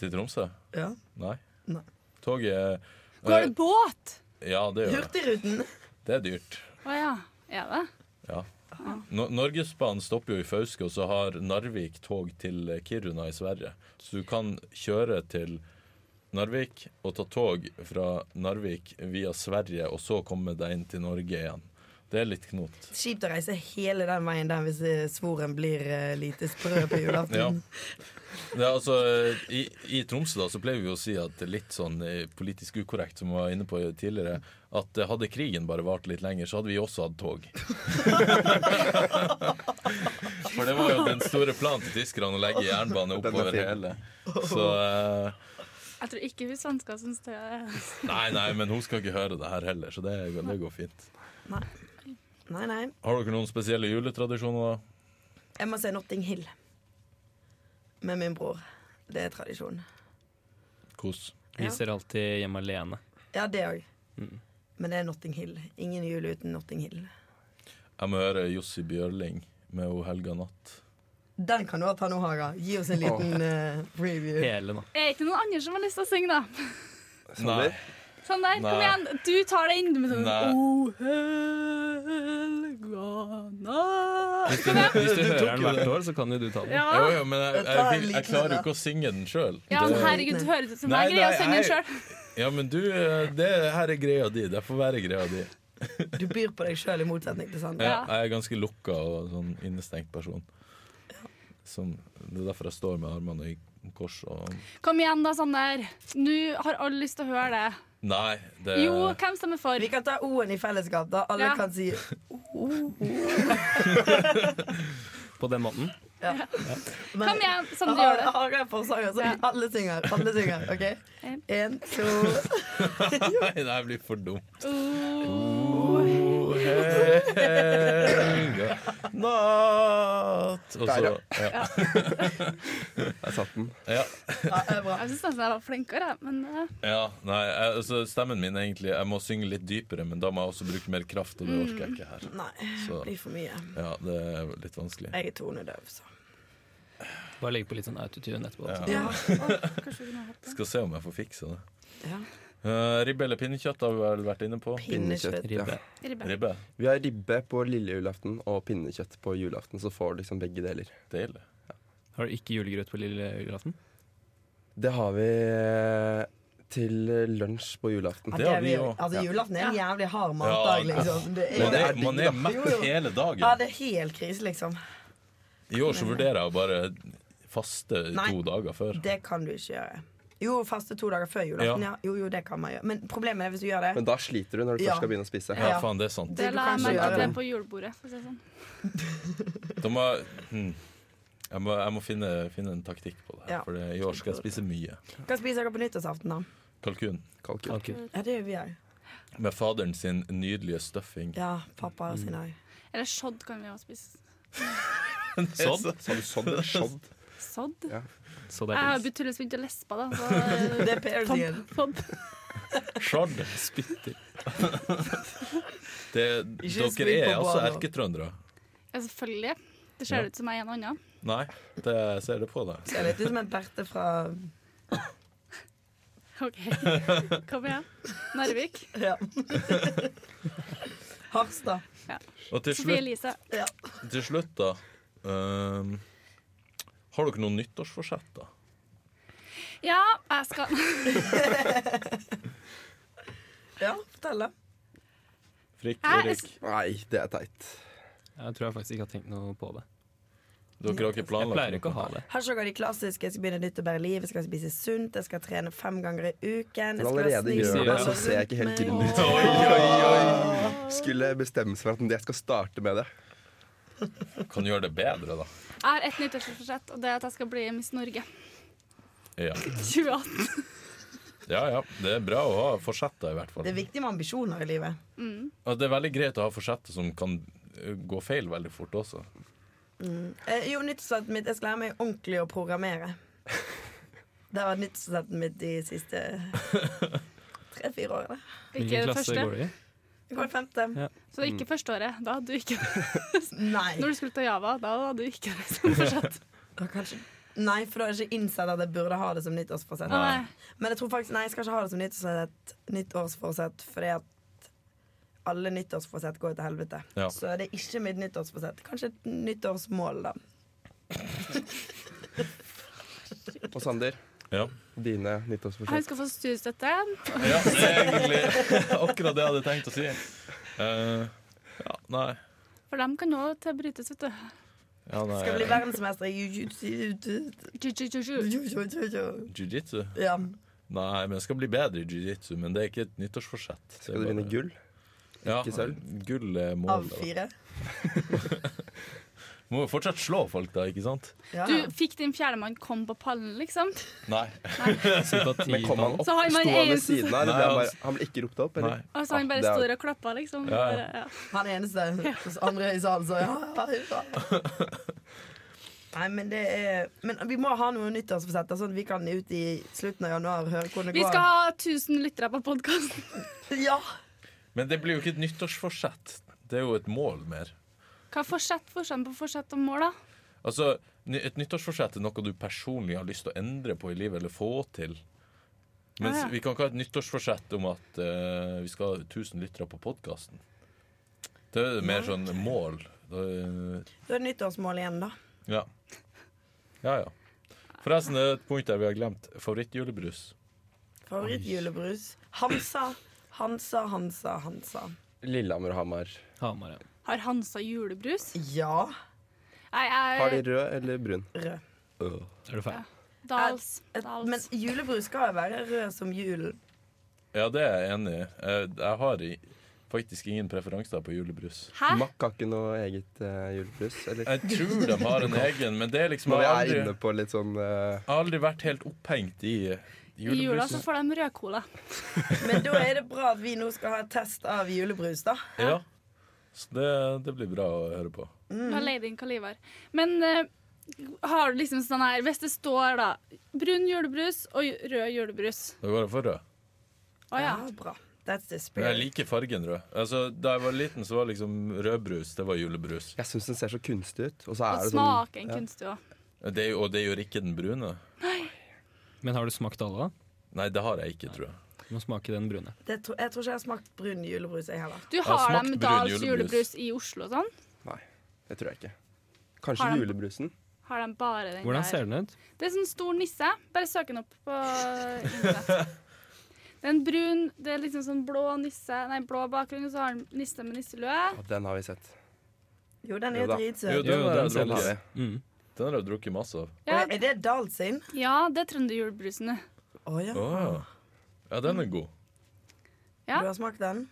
Til Tromsø?
Ja.
Nei.
Nei.
Toget er-
Går det båt?
Ja, det gjør det.
Hurtigruten!
Det er dyrt.
Å ja. Er det?
Ja.
Ah.
No Norgesbanen stopper jo i Fauske, og så har Narvik tog til eh, Kiruna i Sverige. Så du kan kjøre til Narvik og ta tog fra Narvik via Sverige, og så komme deg inn til Norge igjen. Det er litt knot.
Kjipt å reise hele den veien der hvis eh, svoren blir eh, lite sprø på
Ja.
julaften.
Det er altså, eh, i, I Tromsø da, så pleier vi å si at det er litt sånn eh, politisk ukorrekt, som vi var inne på tidligere, at eh, hadde krigen bare vart litt lenger, så hadde vi også hatt tog. For det var jo den store planen til tyskerne å legge jernbane oppover
fin.
hele. Så eh,
Jeg tror ikke hun svenska syns det er
Nei, nei, men hun skal ikke høre det her heller, så det, det går fint.
Nei, nei.
Har dere noen spesielle juletradisjoner, da?
Jeg må se Notting Hill med min bror. Det er tradisjon.
Kos.
Ja.
Viser alltid hjemme alene.
Ja, det òg.
Mm.
Men det er Notting Hill. Ingen jul uten Notting Hill.
Jeg må høre Jossi Bjørling med O helga natt.
Den kan du også ta nå, Haga. Gi oss en liten eh, preview.
Hele, da.
Er ikke noen andre som har lyst til å synge, da?
Nei.
Sander?
Sånn der, kom
Nei.
igjen. Du tar det inn. Med sånn,
Nei.
O helga natt.
Hvis du, hvis du hører
tok
den
jo
hvert år, så kan jo du ta den.
Ja.
Jo, jo, men jeg,
Jeg
jeg,
tar en
vil, jeg
liten
klarer
en,
jo ikke å synge den sjøl.
ja, men herregud, det høres ut som
Nei,
jeg greier å
nei,
synge den
jeg-
sjøl.
Ja, men du, eh, det her er greia di. Det får være greia di.
Du byr på deg sjøl, i motsetning til Sander.
Jeg,
Ja.
jeg er ganske lukka og sånn innestengt person. Som, det er derfor jeg står med armene i kors og
Kom igjen, da, Sander. Nå har alle lyst til å høre det.
Nei, det
Jo, hvem stemmer for?
Vi kan ta O-en i fellesskap, da. Alle
Ja.
kan si
På den måten.
men,
Kom igjen, Sander gjør det.
Haga er forsanger, så
Ja.
alle synger. Alle synger, OK?
En.
Én, to
Nei, det her blir for dumt.
Oh.
Helga natt Og så
Der,
ja.
Jeg satt den.
Ja.
Ja, det er bra.
Jeg syns nesten jeg var flinkere, jeg, men eh,
ja. Nei, jeg, altså, stemmen min er egentlig Jeg må synge litt dypere, men da må jeg også bruke mer kraft, og det orker jeg ikke her.
Nei, det
Så
blir for mye.
ja, det er litt vanskelig.
Jeg er tonedøv, så.
Bare legge på litt sånn autotune etterpå.
Ja.
Ja.
å, kanskje vi kunne hatt det.
Skal se om jeg får fiksa det.
ja.
Eh, ribbe eller pinnekjøtt har vi vel vært inne på.
Pinnekjøtt.
ja.
Ribbe.
Ribbe.
Ribbe.
Vi har ribbe på lille julaften og pinnekjøtt på julaften, så får du liksom begge deler.
Deilig.
Har du ikke julegrøt på lille julaften?
Det har vi eh, til lunsj på julaften.
Ja,
det
det
har
er
vi
vi-
jo.
Altså, julaften er en jævlig hard
Ja,
matdag,
det-
liksom. Det
Man
er,
er,
digg,
man
da.
er mett
Jo, jo. ja,
hele dagen.
det er helt krise, liksom.
I år så vurderer jeg å bare faste
Nei.
to dager før.
Det kan du ikke gjøre. Jo, faste to dager før julaften.
Ja.
Ja. Jo, jo, det kan man gjøre. Men problemet er hvis du gjør det.
Men da sliter du når du
Ja.
først skal begynne å spise.
Ja,
Ja.
faen, det er sant.
Det
du
la jeg
kanskje
merke
gjør
til
det.
på julebordet. For å si det sånn.
Da må, jeg- hm. jeg, må, jeg må finne, finne en taktikk på det. her,
Ja.
For det, i år skal jeg spise mye.
Hva spiser dere på nyttårsaften, da?
Kalkun.
Kalkun.
Kalkun.
Ja, det gjør vi òg.
Med faderen sin nydelige stuffing.
Ja, pappa sin òg.
Eller sodd kan vi også spise.
Sånn.
Sa du sådd eller sådd?
Sodd?
Ja.
Så det
Jeg har
er
tydeligvis begynt å lespe, da. Så,
Mm.
eh,
Det er piercingen.
Sodd.
Shard.
spytter.
Det,
Ikke
dere
spring på
er altså
banen.
erketrøndere.
Ja, selvfølgelig. Det ser
Ja.
ut som jeg er en annen.
Nei, det ser det på deg.
Ser litt ut som et berte fra
OK. Kom igjen. Narvik.
ja. Harstad.
Og til
Sofie
slutt,
Elise.
Ja.
til slutt da ehm, Har dere noen nyttårsforsett, da?
Ja, jeg skal
ja, fortell, da.
Frikk,
Jeg-
Erik.
Nei, det er teit.
Jeg tror jeg faktisk ikke har tenkt noe på det.
Dere har ikke
Jeg
planlagt
pleier ikke å ha det.
Har ikke dere de klassiske 'jeg skal begynne nytt og bedre liv', 'jeg skal spise sunt', 'jeg skal trene fem ganger i uken', 'jeg skal
Når allerede
snill
gjør
med
det,
alle
så ser jeg ikke helt
rundt
grunnen
meg».
til Oi, oi, oi! Skulle bestemme seg for at jeg skal starte med det.
Kan gjøre det bedre, da.
Jeg har ett nyttårsforsett, og det er at jeg skal bli Miss Norge
Ja
2018.
ja, ja det er bra å ha forsetter, i hvert fall.
Det er viktig med ambisjoner i livet.
Og det er veldig greit å ha forsetter som kan eh, gå feil veldig fort også.
Eh, jo, nyttårsforsettet mitt Jeg skal lære meg ordentlig å programmere. Det var nyttårsforsettet mitt de siste tre-fire årene.
Ikke
Hvilken
det
klasse
første.
går du i?
Det går i femte.
Ja.
Så det er ikke førsteåret. Da hadde du ikke
Nei.
Når du skulle ta Java, da hadde du ikke det som forsett.
Da kanskje Nei, for da har jeg ikke innsett at jeg burde ha det som nyttårsforsett.
Å, nei.
Men jeg tror faktisk Nei, jeg skal ikke ha det som nyttårsforsett, nyttårsforsett fordi at alle nyttårsforsett går til helvete.
Ja.
Så det er ikke mitt nyttårsforsett. Kanskje et nyttårsmål, da.
Og Sander,
Ja.
dine
Han
nyttårsforsett?
skal få studiestøtte.
Ja, det er egentlig akkurat det jeg hadde tenkt å si. Eh, ja, nei.
For dem kan nå til brytes, vet du.
Ja, nei.
Skal bli verdensmester i jiu-jitsu.
Ju, ju, ju, ju.
Jiu-jitsu?
Ja.
Nei, men jeg skal bli bedre i jiu-jitsu. Men det er ikke et nyttårsforsett. Det er
Skal du vinne
bare-
gull?
Ja,
ikke sølv?
Gull er
Av
målet. da.
fire.
Må jo fortsatt slå folk, da, ikke sant?
Ja.
Du fikk din fjerdemann kom på pallen, liksom.
Nei.
Sympati
Men kom han opp?
Så har
Sto
man
han ved
en
siden av?
Nei,
eller ble Han,
han-
bare, han ble ikke ropt opp? Eller?
Nei.
Og så han bare
Ah, det er-
står og klapper, liksom.
Ja, ja.
Bare, ja.
Han eneste hos andre i salen sa ja, ja, ja. Nei, men det er Men vi må ha noe nyttårsforsetter, sånn at vi kan ut i slutten av januar høre hvordan det
Vi
går.
skal ha 1000 lyttere på podkasten.
Ja.
Men det blir jo ikke et nyttårsforsett. Det er jo et mål mer.
Hva er forsett forskjellen på forsett og mål, da?
Altså, ny- Et nyttårsforsett er noe du personlig har lyst til å endre på i livet, eller få til. Mens
Ah, ja.
vi kan ikke ha et nyttårsforsett om at eh, vi skal ha 1000 lyttere på podkasten. Det er mer sånn mål. Det,
Da er det nyttårsmål igjen, da.
ja. ja, ja. Forresten, det er et punkt der vi har glemt favorittjulebrus.
Favorittjulebrus. Hansa, Hansa, Hansa, Hansa.
Lillehammer og Hamar.
Hamar, ja.
Har Hansa julebrus?
Ja.
Nei,
Har de
jeg
rød eller brun?
Rød.
Er du ferdig?
Dals.
Et, men
Dals.
julebrus skal jo være rød som julen.
Ja, det er jeg enig i. Eh, Jeg har i- faktisk ingen preferanser på julebrus.
Hæ?
Mack har ikke noe eget eh, julebrus? Eller?
Jeg tror de har en egen, men det er liksom Jeg
Når vi
har
er
aldri,
inne på litt sånn eh,
jeg har aldri vært helt opphengt i eh,
I jula så
julebrusen.
får de rødcola.
Men da er det bra at vi nå skal ha et test av julebrus, da.
Ja. Så det, det blir bra å høre på.
Mm.
Du har leid inn Kalivar. Men eh, har du liksom sånn her Hvis det står da brun julebrus og ju- rød julebrus
Da går jeg for rød.
Å ja.
bra. That's the
Men jeg
spirit.
liker fargen rød. Altså, da jeg var liten, så var liksom rødbrus det var julebrus.
Jeg syns den ser så kunstig ut. Og
Og
så er det sånn
smaken kunstig òg.
Det, er jo- og det gjør ikke den brune.
Men har du smakt alle? da?
Nei, det har jeg ikke, tror jeg.
Du må smake den brune.
Det, tro- jeg tror ikke jeg har smakt brun julebrus, jeg heller.
Du
har
har
smakt
dem
brun
Dahls
julebrus.
julebrus i Oslo og sånn?
Nei, det tror jeg ikke.
Har
Kanskje
han-
julebrusen?
Har de bare den
Hvordan
der?
ser den ut?
Det er sånn stor nisse. Bare søk den opp på internett. Det er en brun, det er liksom sånn blå nisse, nei, blå bakgrunn, og så har den nisse med nisselue.
Ja, den har vi sett.
Jo, den er
Jo da.
Jo,
dritsøt.
den
Jo,
har
den
jeg
ser
Den
drukket.
har vi.
litt- Mm.
Den har jeg drukket masse av.
Ja,
Og Er det Dahl sin?
ja det er trønderjulebrusen, det.
Å ja.
Å, ja, den er god.
Ja.
Du har smakt den?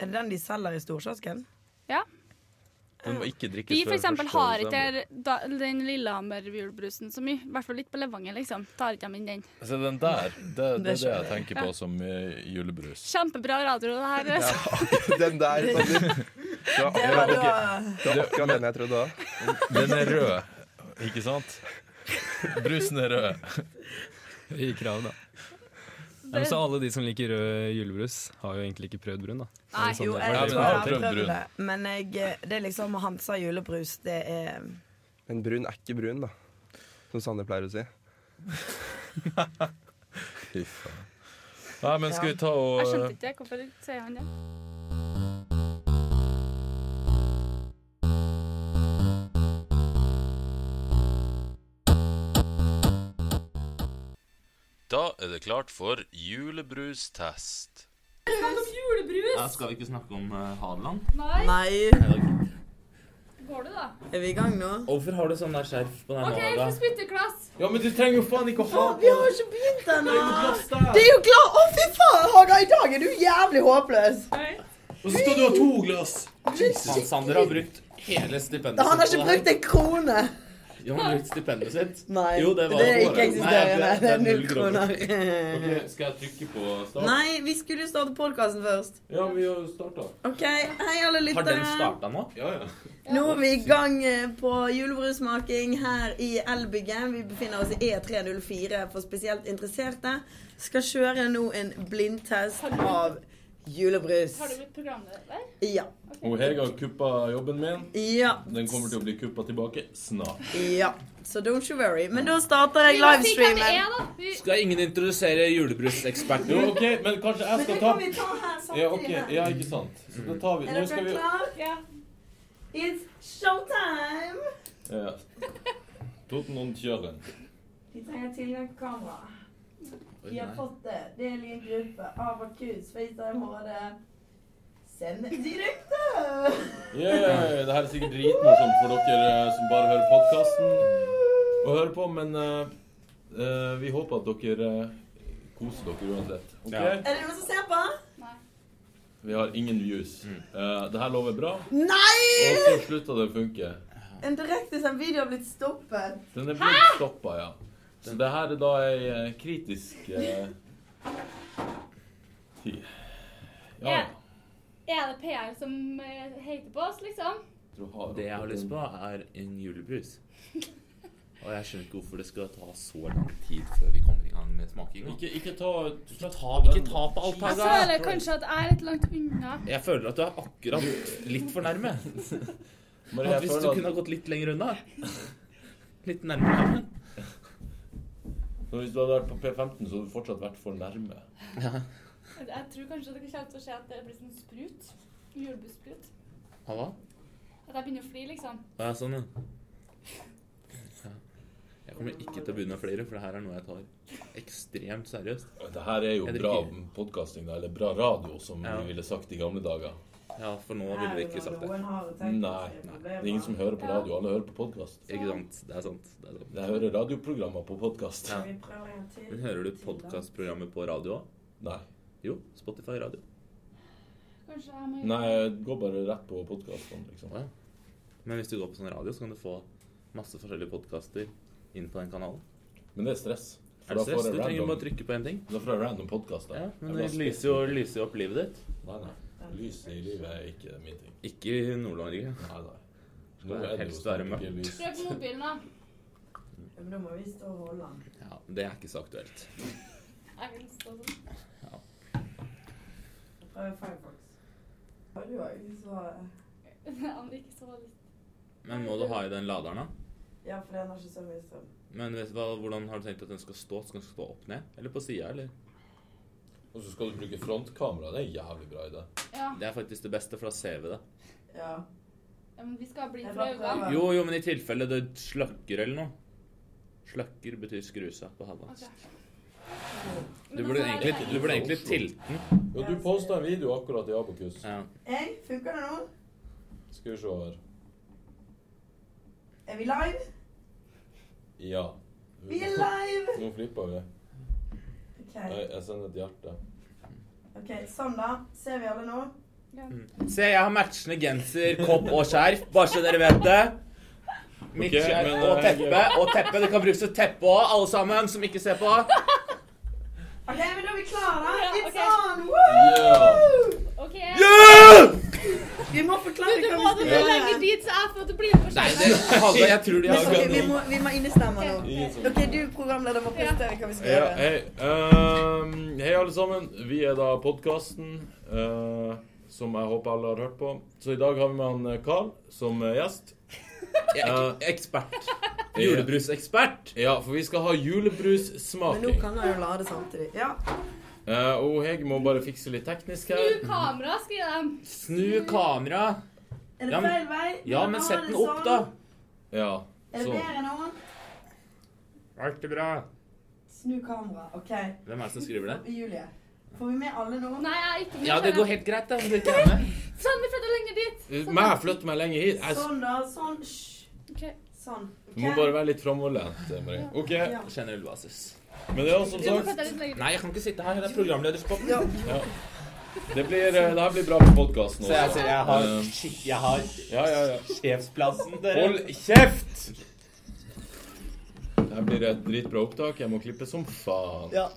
Er det den de selger i storkiosken?
Ja.
Den må ikke drikkes
Vi for
før 1.
eksempel har ikke
desember.
da- den Lillehammer-julebrusen så mye. I hvert fall litt på Levanger, liksom. Tar ikke dem inn den.
Så den der, det, det er det jeg
skjønner jeg.
tenker på som eh, julebrus.
Kjempebra radio, det her.
Den der, Sander. Det var
Ja,
akkurat,
det var
det var akkurat den jeg trodde òg.
Den er rød, ikke sant? Brusen er rød.
I krav, da. Ja, men så alle de som liker rød julebrus, har jo egentlig ikke prøvd brun, da.
Nei,
jo,
det
jeg
var.
tror jeg
Ja, men
har
jeg har prøvd
prøvd
brun.
det. Men jeg, det er liksom Hansa julebrus. Det er
Men brun er ikke brun, da. Som Sander pleier å si.
Fy faen. Nei, men
Ja.
skal vi ta og
Jeg skjønte ikke det. Hvorfor sier han det?
Da er det klart for julebrustest.
Ja, skal vi ikke snakke om eh, Hadeland?
Nei,
Nei,
går du da?
er vi i gang nå?
Hvorfor har du sånn der skjerf på deg
OK,
nå,
få
Olga?
spytteklass.
Ja, men du trenger jo faen ikke å ha
Vi har ikke begynt ennå!
plass
Det
der!
er jo klart! Å, fy faen, Haga! I dag er du jævlig håpløs!
Og så skal du ha to glass! Faen, Sander har brukt hele stipendet
Han har ikke
på det her.
brukt en krone!
Jo, han har brukt stipendet sitt.
Nei,
Jo, det var
det er ikke
året.
eksisterende.
Nei,
Det er null kroner.
Ok, skal jeg trykke på start?
Mm. Nei, vi skulle jo starte podkasten først.
Ja, vi har jo starta.
OK, hei, alle
Har den
lyttere.
starta nå? Ja, ja.
Nå er vi i gang eh, på julebrussmaking her i Elbygget. Vi befinner oss i E E304 for spesielt interesserte. Skal kjøre nå en blindtest av julebrus.
Har du blitt programleder?
Ja.
Og Hege har kuppa jobben min.
Ja.
Den kommer til å bli kuppa tilbake snart.
ja. Så don't you worry. Men da starter jeg livestreamen.
Skal ingen introdusere julebruseksperten?
Jo, OK, men kanskje jeg skal ta
ta her
Ja, ok, ja, ikke sant. Så da tar vi Nå skal vi
klare?
Ja.
It's showtime!
ja. Toten und kjøren.
Vi trenger tilgang på kamera. Vi har fått eh, det. Del i en gruppe. Avakus, FaceTime-HD. Send direkte!
Yeah, det her er sikkert dritmorsomt for dere eh, som bare hører podkasten og hører på, men eh, eh, vi håper at dere eh, koser dere uansett. Ok?
Ja.
Er det noen som ser på?
Vi har ingen views. Eh, det her lover bra, og
Nei!
så slutta det å funke.
En direktesendt video har blitt stoppet.
Den er blitt stoppa, ja. Så det her er da ei eh, kritisk eh, tid. Ja, ja.
Er det PR som eh, heter på oss, liksom?
Du har-
Det jeg har lyst på, er en julebrus. Og jeg skjønner ikke hvorfor det skal ta så lang tid før vi kommer i gang med smakinga.
Ikke, ikke ta
Ikke ta, ikke ta på alt her,
Jeg føler kanskje at jeg er litt langt unna.
Jeg føler at du er akkurat litt for nærme.
Marie, jeg
At hvis du
føler at
kunne ha gått litt lenger unna. Litt nærmere armen.
så Hvis du hadde vært på P15, så hadde du fortsatt vært for nærme.
Jeg tror kanskje det kommer til å skje at det blir sånn sprut. Julebrussprut.
Halla?
At jeg begynner å fly, liksom.
Å ja, sånn, ja. ja. Jeg kommer ikke til å begynne å flere, for det her er noe jeg tar ekstremt seriøst.
Det her er jo
Jeg
bra
drikker.
podcasting, da, eller bra radio, som
Ja.
vi ville sagt i gamle dager.
Ja, for nå ville vi ikke sagt det.
Nei, det er ingen som hører på radio. Alle hører på podkast.
Ikke sant? Det er sant. Det er sant.
Jeg hører radioprogrammer på podkast.
Ja. Men hører du podkastprogrammet på radio òg?
Nei.
Jo, Spotify radio.
Kanskje jeg må
Nei, jeg går bare rett på podkasten, liksom.
Å, ja. Men hvis du går på sånn radio, så kan du få masse forskjellige podkaster inn på den kanalen.
Men det er stress. For
Er det
da får
stress?
jeg
Du trenger
random-
bare trykke på én ting.
Da får jeg random podkast.
Ja, men det lyser jo, lyser jo opp livet ditt.
Nei, nei. Lys i livet er ikke min ting.
Ikke i Nord-Norge.
Nei, nei.
Skal helst
snart
være
ikke
mørkt.
lys.
Prøv på mobilen, da.
Da må vi stå og holde den.
Ja, det er ikke så aktuelt.
Jeg vil stå sånn.
Prøv Firefox. Har du òg, så
Han ikke så litt.
Men må du ha i den laderen, da?
Ja, for den har ikke så mye strøm.
Men vet du hva, hvordan har du tenkt at den skal stå? Skal den stå opp ned? Eller på sida, eller?
Og Og så skal du bruke frontkamera. Det er en jævlig bra idé.
Ja,
Det er faktisk det beste, for da ser vi det.
Ja.
ja, men vi skal bli
Jeg
for
bare
øynene.
prøver.
Jo, jo, men i tilfelle det slakker eller noe. Slakker betyr skrusa på
Ok.
halvans.
Men
Du
da
burde
har
egentlig,
jeg-
du burde egentlig tilte den.
Jo, du posta en video akkurat i Abokus.
Ja.
Hei, funker det nå?
Skal vi se her.
Er vi live?
Ja.
Vi er live!
Nå flipper vi.
Ok,
Nei, jeg sender et hjerte.
ok, Sånn, da. Ser vi alle nå?
Se, jeg har matchende genser, kopp og skjerf, bare så dere vet det. Mitt
Ok,
skjerf
men,
og
eh,
teppe. Og teppe. Det kan brukes som teppe òg, alle sammen som ikke ser på.
Ok, men Da er vi klare, da.
Ja,
Litt
ok.
sånn! Woo!
Ok.
Vi må forklare
Du
hva
må
vi
det
skal
lenger
gjøre.
dit, så jeg får til å bli med på
Nei,
skjermen.
det, Halvor, jeg tror de
Men
har
ok, vi
gønn.
må, vi må innestemme nå.
Ok.
Ok, du programleder må prestere hva vi skal
Ja,
gjøre.
hei. Ehm, hei, alle sammen. Vi er da podkasten som jeg håper alle har hørt på. Så i dag har vi med han eh, Carl som eh, gjest. Eh,
Jeg er ikke Ekspert. Julebrusekspert.
Ja, for vi skal ha
Men nå
julebrussmaking.
kan han jo lade samtidig. Ja.
Eh, og Hege må bare fikse litt teknisk her.
Du, kamera, skriver de.
Snu kamera.
Er
Ja,
det
men-
feil vei?
Ja, men sett den
sånn.
opp, da.
Ja,
Er det
sånn.
bedre nå?
Alt er bra.
Snu kamera. OK.
Hvem er det som skriver det?
Julie, får vi med alle nå?
Nei, jeg er ikke med.
Ja, det går helt greit, da. om du ikke er med.
Sånn, vi flytter lenger dit.
Meg flytter meg lenger hit. Jeg s-
Sånn, da. Sånn. Hysj.
Ok.
Sånn.
Du må bare være litt framoverlent. eh, Marie. OK.
Ja.
Generell basis.
Men det er også, som
Vi må
sagt
flytte litt lenger dit.
Nei, jeg kan ikke sitte her. Det er programlederspotten.
Ja.
Det blir, eh, det her blir bra for podkasten
Så jeg
også.
ser jeg har, shit, jeg har
Ja, ja, ja.
sjefsplassen, dere.
Um, Hold kjeft! Det her blir et dritbra opptak. Jeg må klippe som faen.
Ja.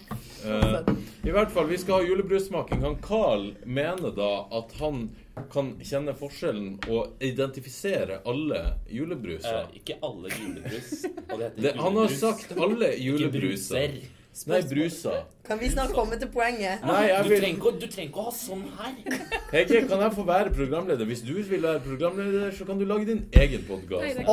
Eh, I hvert fall, vi skal ha julebrussmaking. Han Carl mener da at han kan kjenne forskjellen og identifisere alle julebruser.
Eh, ikke alle julebrus. Og det heter
Det, han har
julebrus.
sagt alle
Ikke
julebruser.
bruser.
Nei, bruser.
Kan vi snart komme til poenget?
Nei,
Du
jeg vil
trenger, ikke, å- du trenger ikke å ha sånn her.
Hege, kan jeg få være programleder? Hvis du vil være programleder, så kan du lage din egen
Nei,
podkast.
det-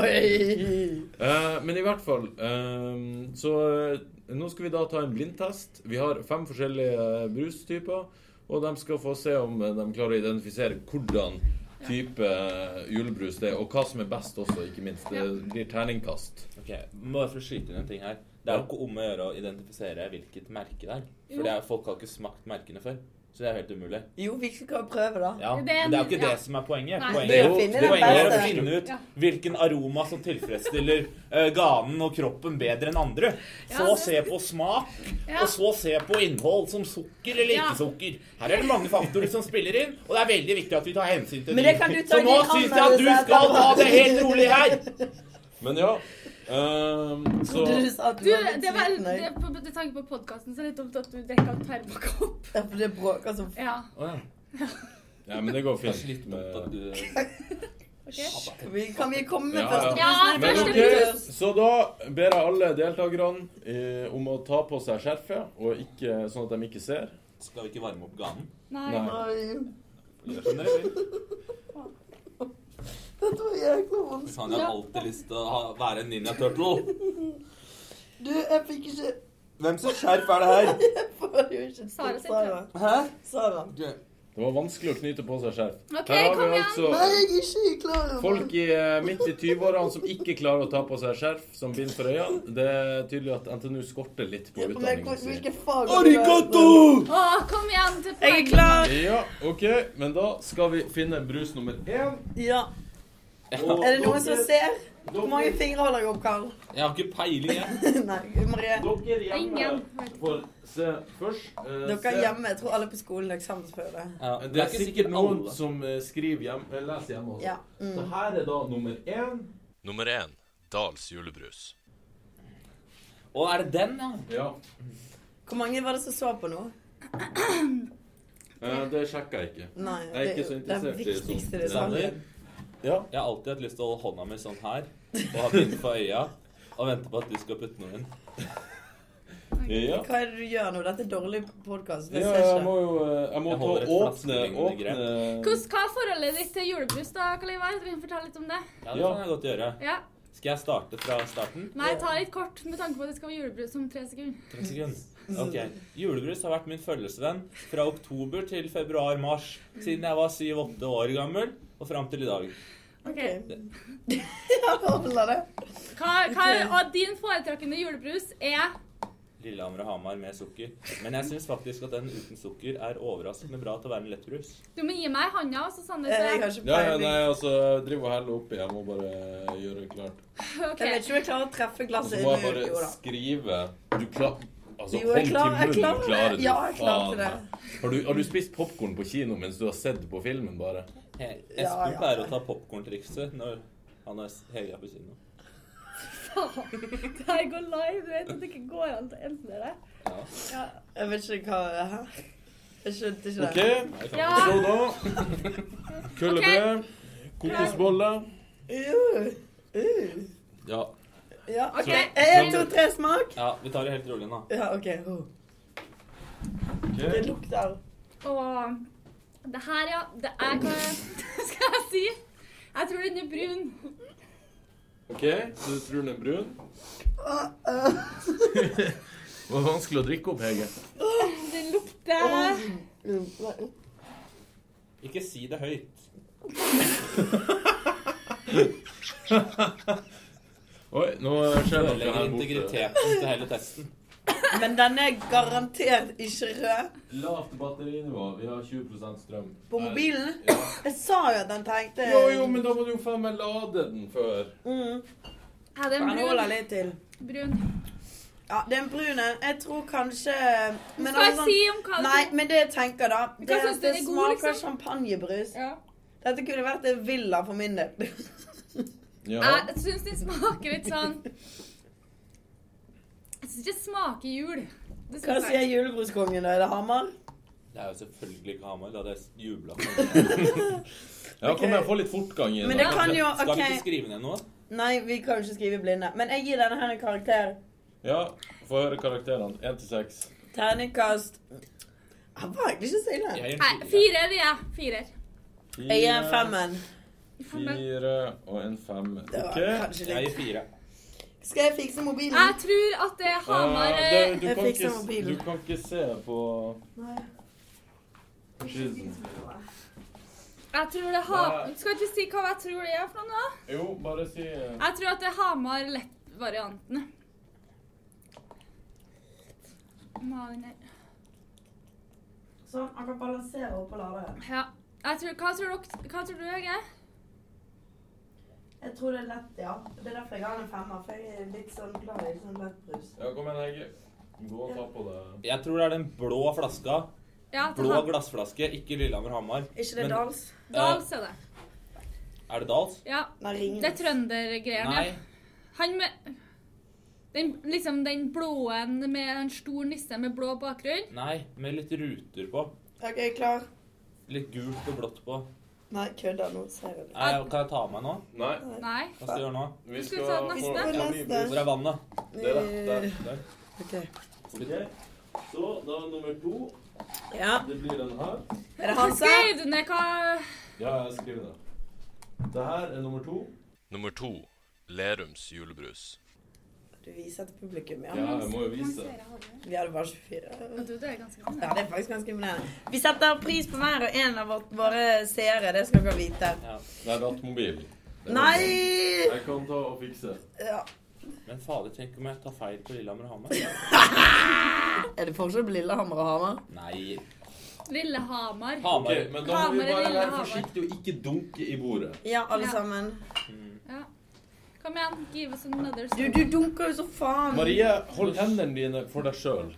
Oi!
Eh, men i hvert fall ehm, Så eh, nå skal vi da ta en blindtest. Vi har fem forskjellige eh, brustyper. Og de skal få se om eh, de klarer å identifisere hvordan type eh, julebrus det er, og hva som er best også, ikke minst. Det blir terningkast.
Ok, Bare for å skyte inn en ting her. Det er jo ikke om å gjøre å identifisere hvilket merke det er. For det er, folk har ikke smakt merkene før. Så det er helt umulig.
Jo, vi skal prøve, da.
Ja,
Det er
men det er jo ikke
ja.
det som er poenget.
Nei.
Poenget
Det er
er jo
å finne den
Poenget er å
beste.
finne ut
Ja.
hvilken aroma som tilfredsstiller eh, ganen og kroppen bedre enn andre. Så
Ja, det-
se på smak,
Ja.
og så se på innhold, som sukker eller
Ja.
ikke sukker. Her er det mange faktorer som spiller inn, og det er veldig viktig at vi tar hensyn til
Men det kan du ta
Så
i
nå
din
syns jeg at du
anmeldelse
skal ta
etterpå.
det helt rolig her.
Men ja ehm, Så
Trodde du sa at du
Du,
var litt
det var
sliten
det,
òg?
på, med tanke på podkasten, så er det litt dumt at du drikker en termokopp.
Ja, for det bråker som
Ja.
Ja, men det går
Kanskje
fint.
litt dumt at
Med,
du-
ok?
f- Kan vi komme med
Ja,
første
ja. Ja,
brus?
men
første
ok, Så da ber jeg alle deltakerne eh, om å ta på seg skjerfet, og ikke, sånn at de ikke ser.
Skal vi ikke varme opp ganen?
Nei.
Nei.
Oi.
Gjør som dere vil.
Dette var jækla vondt.
Faen, jeg har alltid lyst til å ha- være en ninja turtle.
Du, jeg fikk ikke
Hvem sitt skjerf er det her?
Jeg får jo ikke et
Sara
stort
sitt,
Sara.
Hæ?
Sara.
Det var vanskelig å knyte på seg skjerf.
OK,
Her har vi
kom igjen.
altså
Nei, jeg er ikke klar over
folk i, eh, midt i 20-årene som ikke klarer å ta på seg skjerf som bind for øynene. Det er tydelig at NTNU skorter litt på
Men hvor-
utdanningen sin.
hvilke fag
Å, kom igjen til
Jeg er klar.
Ja, OK, men da skal vi finne brus nummer én.
Ja. Er det noen som ser? Hvor mange fingre holder jeg opp, Karl?
Jeg har ikke peiling, jeg.
Nei, Marie.
Dere hjemme
Ingen.
får se først. Eh,
Dere
se.
hjemme, jeg tror alle på skolen er eksamensførere.
Ja,
Det er sikkert noen som eh, skriver hjem, eh, leser hjemme også.
Ja.
Så
Mm.
her er da nummer én.
Nummer 1. Dals julebrus.
Å, er det den, ja?
Ja.
Hvor mange var det som så på nå?
Eh, det sjekker jeg ikke.
Nei,
Jeg er ikke
det, det
så
er det
interessert i sånn
viktigste
sånt.
det er saken.
Ja.
Jeg har alltid hatt lyst til å holde hånda mi sånn her og ha bind for øya og vente på at du skal putte noe inn.
ja.
Hva er det du gjør nå? Dette er dårlig podkast.
Ja, jeg må jo eh, Jeg må
Jeg
ta
holder et
åpne,
flaskelignende
åpne
grep.
Hvordan, hva er forholdet ditt til julebrus, da, Kalivar? Kan du fortelle litt om det?
Ja, det kan jeg godt gjøre.
Ja.
Skal jeg starte fra starten?
Nei, ta litt kort med tanke på at det skal være julebrus om tre sekunder.
30 sekunder. Ok. Julebrus har vært min følgesvenn fra oktober til februar-mars. Siden jeg var 7-8 år gammel og fram til i dag.
Ok.
Jeg holder det.
Hva, hva, og din foretrukne julebrus er
Lillehammer og Hamar med sukker. Men jeg syns faktisk at den uten sukker er overraskende bra til å være en lettbrus.
Du må gi meg handa, så Sanne
Eh, Jeg har
ser.
ikke
Ja, ja,
peiling.
nei, altså, jeg driver og heller oppi. Jeg må bare gjøre det klart.
Ok.
Jeg vet ikke om jeg klarer å treffe
Og så
glasset.
må jeg
nå. Jo
bare
da.
skrive Du klar... Altså,
Jo, jeg
hånd
klarer- jeg
til munnen
klarer det.
klarer du.
Ja, jeg klarte
faen
det.
meg. Har du, har du spist popkorn på kino mens du har sett på filmen, bare?
He Espen
Ja, ja.
pleier å ta popkorntrikset når han er høya på kino.
Det her går live. Du vet at det ikke går an til å endre det.
Jeg vet ikke hva Hæ? Jeg skjønte ikke det.
OK,
Ja.
så da Kullebrød, kokosboller
Jo. Uh.
Ja.
Ja.
Ok.
En, to, tre, smak.
Ja, vi tar det helt rolig nå.
Ja, OK. Oh. Det
ok.
lukter
Og det her, ja. Det er hva skal jeg si? Jeg tror den er brun.
OK, så du tror den er brun?
Det var vanskelig å drikke opp, Hege.
Den lukter
Ikke si det høyt.
Oi, nå skjer det noe
Ødelegger
her borte.
integriteten til hele testen.
Men den er garantert ikke rød.
Lavt batterinivå. Vi har 20 strøm.
På mobilen?
Ja.
Jeg sa jo at den tenkte
Jo, jo, men da må du jo faen meg lade den før.
Mm.
Ja, det
Den
er
holder
brun.
litt til.
brun.
Ja, den brune Jeg tror kanskje men
Skal jeg
altså-
si om hva du
Nei, men det jeg tenker, da Det, er
synes
at
den
det
er god,
smaker
liksom?
champagnebrus.
Ja.
Dette kunne vært en villa for min del.
Ja.
Jeg syns den smaker litt sånn Jeg syns ikke det smaker jul.
Hva
Det synes
sier
jeg.
julebruskongen, da? Er det Hamar?
Det er jo selvfølgelig ikke Hamar. Da hadde jeg jubla.
ja, kom igjen, få litt fortgang i
Men det
det.
kan jo
Skal vi ikke
OK.
skrive ned noe?
Nei, vi kan jo ikke skrive blinde. Men jeg gir denne her en karakter.
Ja, få høre karakterene. Én til seks.
Terningkast Han var egentlig ikke så ille.
Jeg gir
Nei,
en fire.
firer er jeg. Firer.
Jeg gir en femmen.
Fire og en femmer.
Det var
OK.
kanskje
Jeg
litt
gir fire.
Skal jeg fikse mobilen?
Jeg tror at det er Hamar
Eh,
eh,
det- du,
Jeg
kan
fikser
ikke, s-
mobilen.
du kan ikke se på
Nei.
på skilten.
Jeg tror det er Hamar Skal ikke si hva jeg tror det er for noe? da?
Jo, bare si eh,
Jeg tror at det er Hamar lett-varianten.
Sånn, han kan balansere opp og lade.
Ja. Jeg tror, hva, tror dere, hva tror du, Hege?
Jeg tror det er lett, ja. Det er derfor jeg har en femmer, for jeg er litt sånn glad i sånn lett brus.
Ja, kom igjen, Hege. Gå og ta på det.
Jeg tror det er den blå flaska.
Ja, til
Blå
Ham-
glassflaske, ikke Lillehammer-Hamar.
Ikke
Men-
det Dals?
Dals er det.
Er det Dals?
Ja.
Nei,
Det er
Ringnes.
trøndergreiene.
Nei.
ja. Han med den, liksom den blå en med en stor nisse med blå bakgrunn.
Nei, med litt ruter på.
Ok, klar.
Litt gult og blått på.
Nei, kødder nå. Ser jeg det.
Nei, kan jeg ta meg nå?
Nei,
Nei.
Hva skal jeg gjøre nå?
vi
Skal vi ta
skal
den
få-
neste?
ja, vi-
Hvor er vannet?
Der, da. Der. der.
Eh, Ok.
Ok. Så da nummer to.
Ja.
Det blir den her.
Er det Hansa?
Skrev du ned hva
Ja, jeg skriver det. Det her er nummer to.
Nummer to Lerums julebrus.
Du viser til publikum, ja.
Ja, jeg må jo vise.
Vi hadde bare 24.
Og du, det er ganske mange.
Ja, det er faktisk ganske imponerende. Vi setter pris på hver og en av vårt, våre seere, det skal dere vite.
Det er rattmobil.
Nei!
Jeg kan ta og fikse.
Ja.
Men fader, tenk om jeg tar feil på Lillehammer-Hamar?
Er det forskjell på Lillehammer og Hamar?
Nei.
Lillehamar.
Ok,
Hamar.
men da må vi
Hamar
bare
eller
være
Hamar?
forsiktige og ikke dunke i bordet.
Ja, alle
Ja.
sammen.
Ja. Kom igjen, give us
Du,
another scoop.
du dunker jo så faen.
Marie, hold hendene dine for deg sjøl.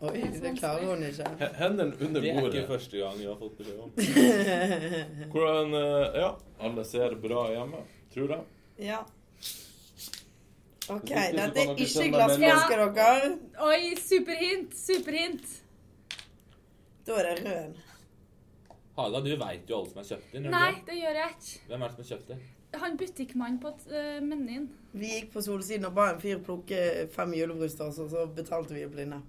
Oi, det klarer hun ikke.
Hendene under
Det er
bordet.
ikke første gang vi har fått beskjed om.
Hvordan eh, Ja, alle ser bra hjemme, tror jeg.
Ja. OK,
Hvis
dette
ikke, så kan
er
dere
ikke
sende
glassflaske,
melding.
dere.
Oi, superhint! Superhint.
Da er det rød.
Haga, du veit jo alle som har kjøpt inn.
Nei, det gjør jeg ikke.
Hvem er det som har kjøpt det?
Han butikkmannen på uh, menyen.
Vi gikk på Solsiden og ba en fyr plukke fem julebrus til oss, og så betalte vi i blinde.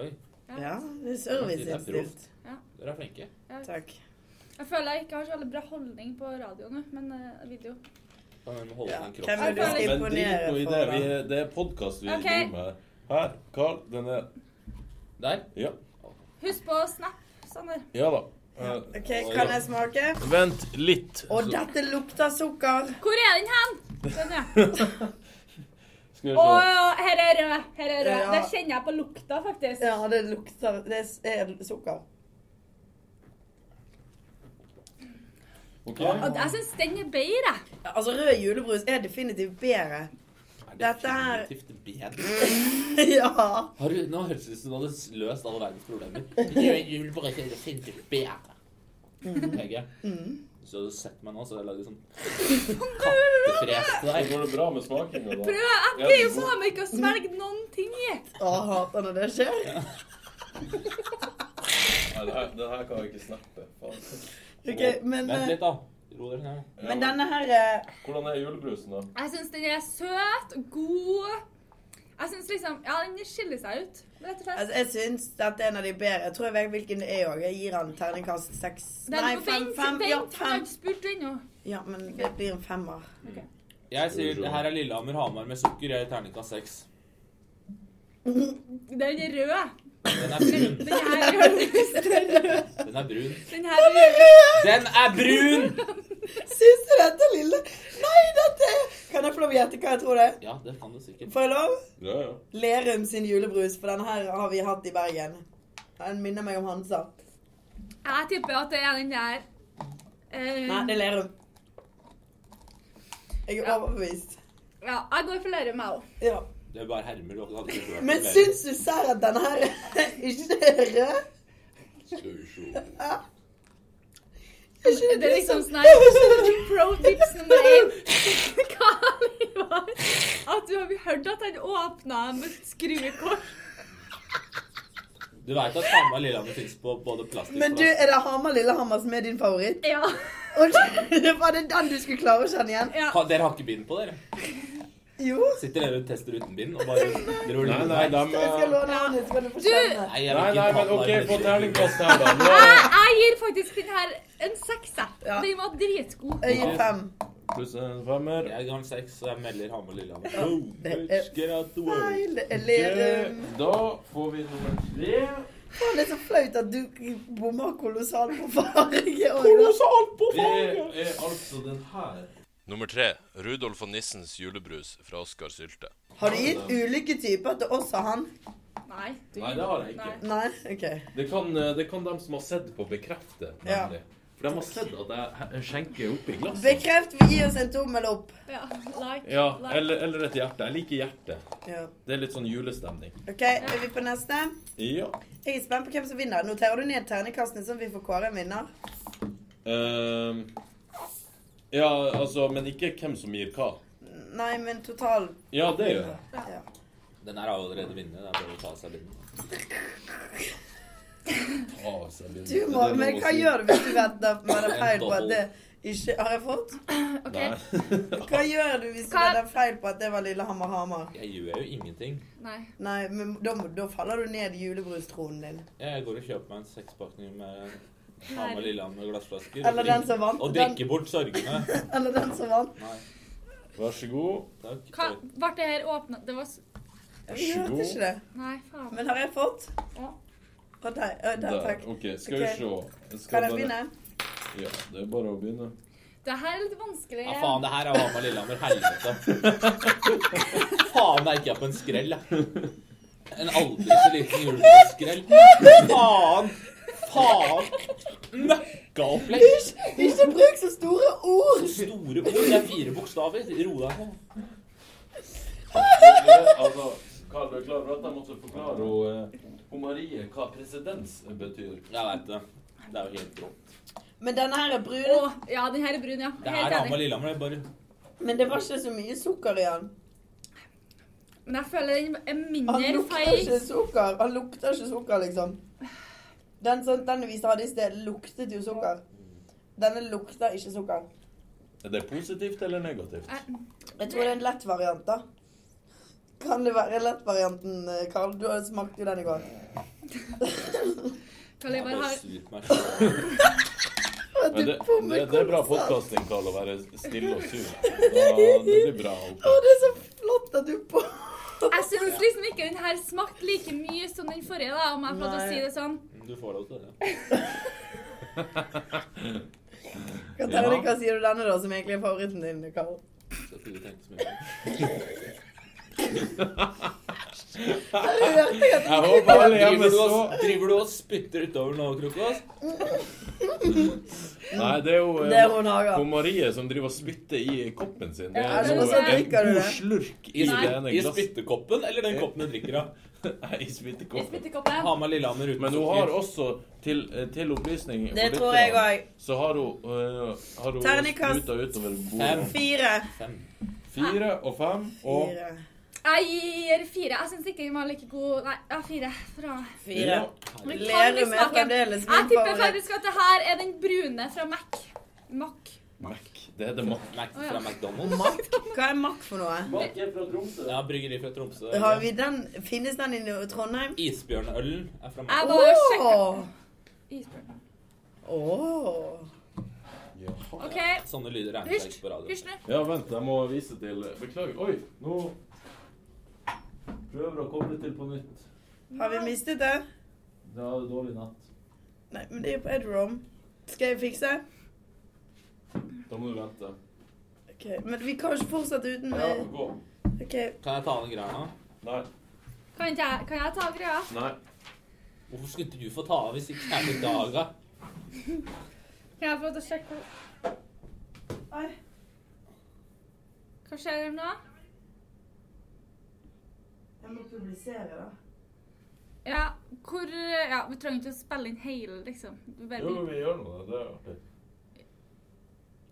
Oi,
Ja, det er
Det er
serviceinnstilt.
dere er flinke.
Takk.
Jeg føler jeg ikke har så veldig bra holdning på radio nå, men eh, jeg vil jo
Kan en holde
Ja,
den
hvem
kroppen?
er
Men
du skal imponere
drit nå i det.
for?
Vi,
da?
det er podkast vi
Ok.
driver med. Her. Carl, den er
Der.
Ja,
Husk på Snap, sånn Sander.
ja da. Eh,
OK, kan jeg smake?
Vent litt.
Å, dette lukter sukker!
Hvor er den hen? Den er.
Skal vi
Å
se.
ja, her er rød. Her er rød.
Ja.
Det kjenner jeg på lukta, faktisk.
Ja, det lukter Det er sukker.
Ok.
Og jeg syns den er bedre. jeg.
Ja, Altså, rød julebrus er definitivt bedre.
Er det
Dette her-
definitivt bedre?
ja.
Har du, nå høres det ut som du hadde løst alle verdens problemer. Det er jul, bare ikke det finnes ikke bedre.
Mm.
Hege, hvis du hadde sett meg nå, så hadde jeg lagd en sånn kattefres til
Her
deg.
Går det bra med smakinga, da?
Prøv, jeg blir jo faen meg ikke å svelge noen ting i.
Å, jeg hater når det skjer.
Nei, det her, det her kan vi ikke snappe. Faen.
Ok, men,
Vent
eh,
litt, da. Ro dere ned.
men denne her eh,
Hvordan er julebrusen, da?
Jeg syns den er søt, god. Jeg syns liksom Ja, den skiller seg ut, rett og slett.
altså, Jeg syns dette er en av de bedre. Jeg tror jeg vet hvilken det er òg. Jeg gir han terningkast seks
Den
Nei,
er på
fem.
vent,
fem ja,
vent, jeg har
fem.
ikke spurt ennå.
ja, men det blir en femmer.
Jeg sier det her er Lillehammer-Hamar med sukker. Jeg er terningkast seks.
Den er rød. Den her er rød.
Den er brun. Den er brun.
Den her er rød.
Den er brun!
Syns du dette, lille? Nei, dette er Kan jeg få lov å gjette hva jeg tror det er?
Ja, det kan du sikkert.
Får jeg lov?
Ja, ja.
Lerum sin julebrus, for denne her har vi hatt i Bergen. Den minner meg om Hansa.
Jeg tipper at det er den der eh,
Nei, det er Lerum. Jeg er
Ja.
overbevist.
Ja, jeg går for Lerum, jeg òg.
Ja.
Det er bare hermer. Du hadde ikke vært
Men
mer.
syns du sær at denne her ikke er rød?
Skal vi se.
Ikke
Det er liksom sånn
Det er jo
her
sånn-
Pro tips nummer én. Hva var at du har hørt at han åpna med skruekort?
Du veit at Hamar Lillehammer fins på både plastikk
Men du, er det Hamar Lillehammer som er din favoritt?
Ja.
Og det var det den du skulle klare å kjenne igjen?
ja.
Ha, dere har ikke bind på, dere?
Jo.
Sitter dere og tester uten bind? Og bare dro
Nei, nei, de
Jeg skal
eh,
låne hånden, så skal du få
Du-
kjenne.
Nei, jeg
Nei,
vil
nei,
ikke ta
men OK,
den
få
der.
terningkast her, da. Nå.
Jeg, jeg gir faktisk den her en sekser.
Ja.
Den var dritgod.
Jeg gir fem.
Pluss en femmer.
Jeg ga den seks, så jeg melder Hamar Lillehammer.
det
Boom,
er-
get out the way.
Nei, det er Lerum.
Ok, Da får vi nummer tre.
Faen, det er så flaut at du bommer kolossalt på farge. og-
Det er altså den her.
Nummer tre. Rudolf og nissens julebrus fra Oskar Sylte.
Har du gitt ulike typer til oss og han?
Nei. Du,
Nei, det har jeg ikke.
nei.
Nei? OK.
Det kan, eh, det kan de som har sett på, bekrefte.
Ja.
nemlig. For de har sett at jeg he- skjenker oppi glasset.
Bekreft, vi gir oss en tommel opp.
Ja, like.
Ja,
like.
eller, eller et hjerte. Jeg liker hjerte.
Ja.
Det er litt sånn julestemning.
OK, er vi på neste?
Ja.
Jeg er spent på hvem som vinner. Noterer du ned terningkastene, sånn at vi får kåre en vinner?
Ehm, ja, altså, men ikke hvem som gir hva.
Nei, men total
Ja, det gjør jeg.
ja.
Den her har allerede vunnet. Det er bare å ta av seg bindet.
Å, så jeg begynner-
Du
det
må,
er lov
men
å
hva
si.
gjør du hvis du vet at man har
En
feil på at
double.
det ikke Har jeg fått?
Ok.
Nei.
Hva gjør du hvis du
Hva-
vet at feil på at det var Lillehammer-Hamar?
Jeg gjør jo ingenting.
Nei.
Nei, men da, må- da faller du ned i julebrusstronen din.
Jeg går og kjøper meg en sekspakning med Hamar Lillehammer glassflasker. og
Eller den
drikk-
som vant.
Og
Den,
drikke bort sorgene.
eller den som vant.
Nei,
Vær så god.
takk.
Hva ble det her åpna Det var s-
Jeg hørte ikke det.
Nei, faen.
Men har jeg fått?
Ja.
Å, der. Å, der,
Der.
takk.
OK, skal vi
Ok.
se. Jeg skal
Kan jeg
bare-
begynne?
Ja, det er bare å begynne.
Det her er litt vanskelig.
Ja, faen, det her er Hamar Lillehammer. Helvete. faen, det er ikke jeg på en skrell, jeg. En aldri så liten julebrusskrell. Faen! Faen! Møkkaopplegg.
Ikke bruk så store ord!
Store ord. Det er fire bokstaver. Ro deg ned.
Altså, Karl, du er klar over at jeg måtte forklare hun, eh, hun Marie hva presedens betyr?
Jeg veit det. Det er jo helt rått.
Men denne her er
Å,
brun.
ja, den her er brun, ja.
Det her er
Helt
Hamar
enig.
Lillehammer. det er Bare
Men det var ikke så mye sukker i den.
Men jeg føler den er
Han
mindre
lukter
feig.
ikke sukker. Han lukter ikke sukker, liksom. Den, som, den vi hadde i sted, luktet jo sukker. Denne lukter ikke sukker.
Er det positivt eller negativt?
Jeg tror det er en lett variant, da. Kan det være lettvarianten, eh, Karl? Du har smakt jo den i går.
Kan jeg
Jeg
bare
bare
ha
sur på meg selv.
at du
Men det, det,
bommer
det er bra
kolossalt.
podkasting, Karl, å være stille og sur. Da, det blir bra.
Å, det er så flott at du bommer.
Jeg syns liksom ikke den her smakte like mye som den forrige, da, om jeg får lov til å
Nei.
si det sånn.
Du får lov til det.
Hva terningkast gir du denne, da, som egentlig er favoritten din, Karl?
Skal ikke du tenke så mye. Jeg håper alle hjemme så Driver du og spytter utover nå, Krokos?
Nei, det er jo
Det er
eh,
hun Haga.
hun Marie som driver og spytter i koppen sin. Det
Ja,
er
men
noe,
så
en
drikker du
god
det.
slurk i
I,
det ene
i
glasset.
spyttekoppen eller den koppen du drikker av?
Nei, i
I
spyttekoppen.
spyttekoppen.
Ha med Lillehammer uten
Men hun
sukker.
har også, til, eh, til opplysning
Det
for
tror
lytterne,
jeg òg.
Så har hun, eh, har hun
Terningkast.
spruta utover bordet.
Fire.
Fire og fem og
Fire.
Jeg gir fire. Jeg syns ikke den var like god Nei, ja, fire. Fra
Fire.
Men kan vi
Lerum er
snakke-
fremdeles
Jeg
min
tipper
favoritt.
faktisk at det her er den brune fra Mac. Mac.
Mac. Det heter Mac.
Mac fra McDonald's.
Mack? Hva er makk for noe?
Ja, bryggeri fra Tromsø.
Har vi den, finnes den i Trondheim?
Isbjørnølen er fra
Jeg
Mac.
var og sjekka
Åh.
isbjørnen.
Åh.
OK,
Sånne lyder er
Hysj.
ikke på radio.
hysj nå.
Ja, vent, jeg må vise til Beklager. Oi, nå prøver å koble til på nytt.
Har vi mistet det?
Det var en dårlig natt.
Nei, men det er på Edrom. Skal jeg fikse?
Da må du vente.
Ok, Men vi kan ikke fortsette uten
Ja,
med
gå.
Ok,
Kan jeg ta den greia nå?
Nei.
Kan, ikke jeg, kan jeg ta greia?
Nei.
Hvorfor skulle ikke du få ta av hvis ikke jeg blir daga?
Kan jeg få lov til å sjekke Oi. Hva skjer nå?
Jeg må publisere, da.
Ja, hvor Ja, vi trenger ikke å spille inn hele, liksom. Du
Jo,
bare
vi gjør noe. Det er artig.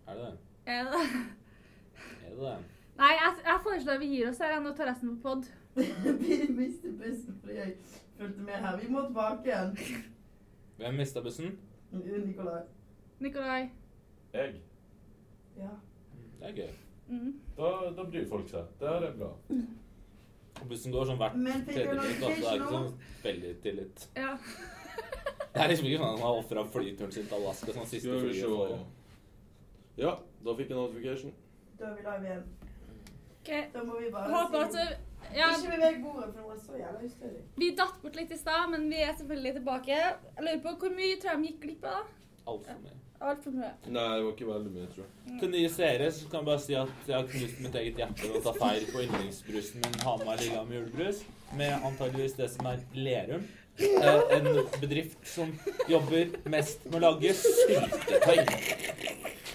Er det det?
Er det det?
Er det det?
Nei, jeg, jeg foreslår vi gir oss her og tar resten på pod.
vi mistet bussen fordi jeg fulgte med her. Vi må tilbake igjen.
Hvem mista bussen?
Nikolai.
Nikolai.
Jeg.
Ja.
Det er gøy.
Mm.
Da, da bryr folk seg. Det her er bra.
Og bussen går sånn hvert
Men fikk du
tredje minutt. Altså, det er
notification
ikke
nå?
sånn veldig tillit.
Ja.
Det er liksom ikke sånn at han har ofra flyturen sin til Alaska sånn siste
Skal vi
flyet. for
se.
året.
Ja, da fikk jeg notification.
Da er vi live igjen.
OK.
Da må vi bare
Håper at
si-
du ja,
Ikke beveg bordet, for nå er så jævla ustødig.
Vi datt bort litt i stad, men vi er selvfølgelig tilbake. Jeg lurer på hvor mye tror jeg de gikk glipp av? da?
Alt for mye.
Alt for mye.
Nei, det var ikke veldig mye, tror jeg.
Til nye seere så kan jeg bare si at jeg har knust mitt eget hjerte ved å ta feil på yndlingsbrusen min Hamar Lillehammer julebrus, med antageligvis det som er Lerum. Eh, En bedrift som jobber mest med å lage syltetøy.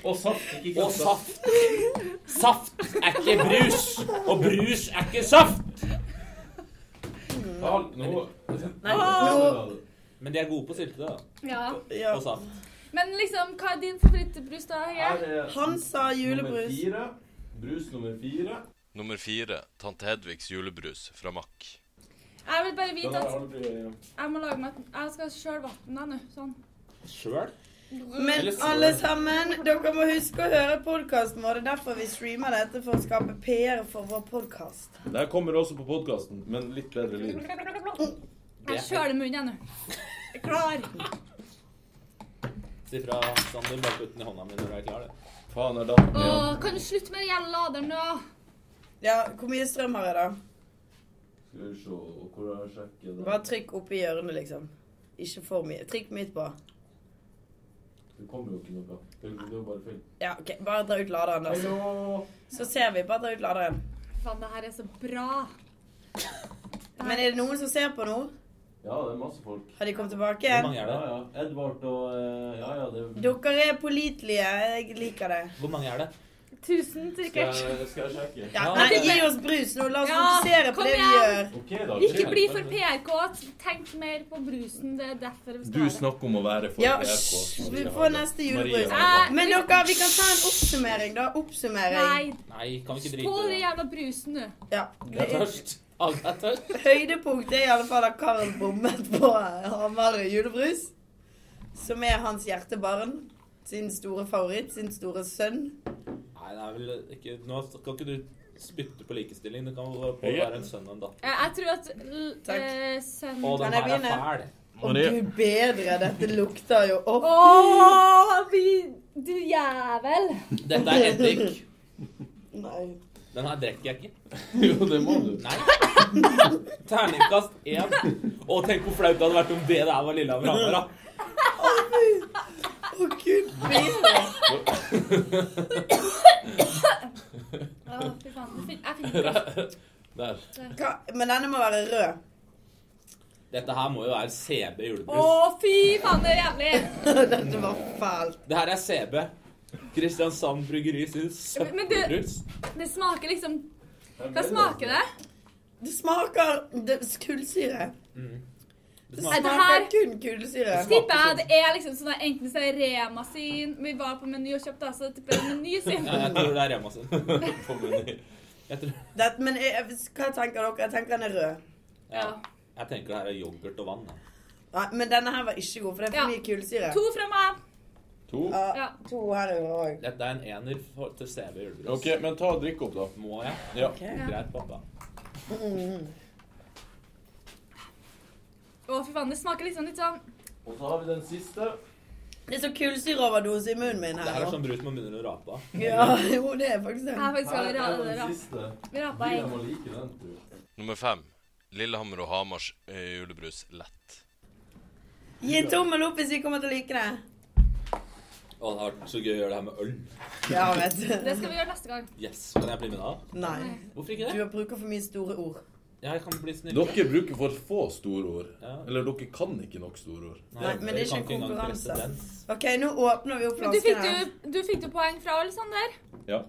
Og saft. Ikke
Og saft. Saft er ikke brus, og brus er ikke saft.
Ja, nå,
Nei,
Men de er gode på syltetøy da.
Ja.
Ja.
og saft.
Men liksom, hva er din favorittbrus, da?
her
Hege?
er
Han sa
nummer
julebrus.
fire. Brus nummer fire.
Nummer fire, Tante Hedvigs julebrus fra Mack.
Jeg vil bare
Den
vite
har
at
jeg aldri
jeg må lage meg Jeg skal sjøl vann da nå. Sånn.
Sjøl?
Men
Eller så-
alle sammen, dere må huske å høre podkasten vår. Det er derfor vi streamer dette, for å skape PR for vår podkast.
Det her kommer også på podkasten, men litt bedre lyd.
Jeg kjøler munnen jeg nå. Jeg er Klar.
Si fra, Sander. Bare putt den i hånda mi når du er klar. det.
Faen, er datten
Å,
igjen.
kan du slutte med den jævla laderen nå?
Ja, hvor mye strøm har jeg, da?
Skal vi se hvor har jeg sjekket det?
Bare trykk oppi hjørnet, liksom. Ikke for mye. Trykk midt på.
Det kommer jo ikke noe. Det er jo bare feil.
Ja, ok. Bare dra ut laderen, da. Så, så ser vi. Bare dra ut laderen.
Faen, det her er så bra.
Men er det noen som ser på nå?
Ja, det er masse folk.
Har de kommet tilbake?
Hvor mange
Ja,
er det?
ja. Edvard og eh, Ja, ja, det
Dere er pålitelige. Jeg liker det.
Hvor mange er det?
Tusen
Skal
sikkert.
jeg, skal jeg sjekke?
Ja,
Ja,
nei,
det-
gi oss brus nå. La oss
Ja,
fokusere på
kom
det vi
igjen.
gjør.
OK, da.
Ikke
skjer.
bli for PRK. Tenk mer på brusen. Det er derfor vi
Du
skal ha det.
snakker om å være for
Ja,
PRK.
hysj. Vi
Maria
får
Hagen.
neste
Maria
julebrus.
Hagen.
Eh,
Men
vi-
dere, vi kan ta en oppsummering, da. Oppsummering.
Nei,
Nei, kan vi
på
ikke drite
den
i det?
jævla brusen nå.
Ja.
Jeg er tørst. Alle er tørst.
Høydepunkt er i alle fall at Karl bommet på Hamar julebrus. Som er hans hjertebarn. Sin store favoritt. Sin store sønn.
Nei, det er vel ikke Nå kan ikke du spytte på likestilling. Det kan vel bare
Jeg-
være en sønn og en datter.
Eh, Jeg tror at l-
Takk.
eh,
Å,
sønnen
Kan
den
jeg
her er
begynne?
fæl.
Å, gud bedre, dette lukter jo opp.
Åh, vi- du jævel!
Dette er eddik.
Nei.
Den her drikker jeg ikke.
Jo, det må du.
Nei. Terningkast én. Å, tenk hvor flaut det hadde vært om det der var Lillehammer Hamar, da.
Å, gud bedre.
Å, fy faen. Jeg fin- Jeg finner ikke
Der.
Hva? Men denne må være rød.
Dette her må jo være CB
Å,
julebrus.
fy faen, det er jævlig!
Dette var fælt.
Det her er CB. Kristiansand Bryggeri sin
Men du-
søppelbrus.
Det smaker liksom Hva smaker det?
Det smaker det, kullsyre. Det
smaker-
smaker kun kullsyre.
Tipper jeg det er liksom sånn der, enten så er det Rema sin Vi var på Meny og kjøpte, så tipper jeg det er Meny sin.
Ja, jeg tror det er Rema sin. På Meny. Jeg, tror,
Det, men jeg, jeg, hva tenker dere? Jeg tenker den er rød.
ja.
Ja.
jeg tenker det her er yoghurt og vann. da.
Nei, men denne her var ikke god, for det er
Ja.
for mye kullsyre.
To fra meg.
To.
Ja,
Ja.
to her er jo òg.
Dette er en ener for, til CB julebrus.
OK, men ta og drikk opp, da.
Må jeg?
Ja.
Greit, pappa.
Å, fy faen, det smaker liksom litt sånn
Og så har vi den siste.
Det er så kullsyreoverdose i munnen min
Det
her.
her er
nå.
sånn brus man begynner å rape av.
Ja, jo, det er faktisk
Jeg har
det.
faktisk
Her
allerede
er den
rapa.
siste.
Vi rapa
Jeg
en.
må like den, tror jeg.
Nummer fem. Lillehammer og Hamars eh, julebrus lett.
Gi en tommel opp hvis vi kommer til å like det.
Å, det har vært så gøy å gjøre det her med øl.
Ja, vet
Det
du.
skal vi gjøre neste gang.
Yes, Kan jeg bli med da?
Nei.
Hvorfor ikke
Du
det?
bruker for mye store ord.
Ja, jeg kan bli snill.
Dere bruker for få storord.
Ja.
Eller dere kan ikke nok storord.
Nei, men det er ikke en
kan engang
konkurranse.
presedens.
OK, nå åpner vi opp
Men du fikk
flasken her.
jo, du fikk jo poeng fra alle sånne der.
Ja.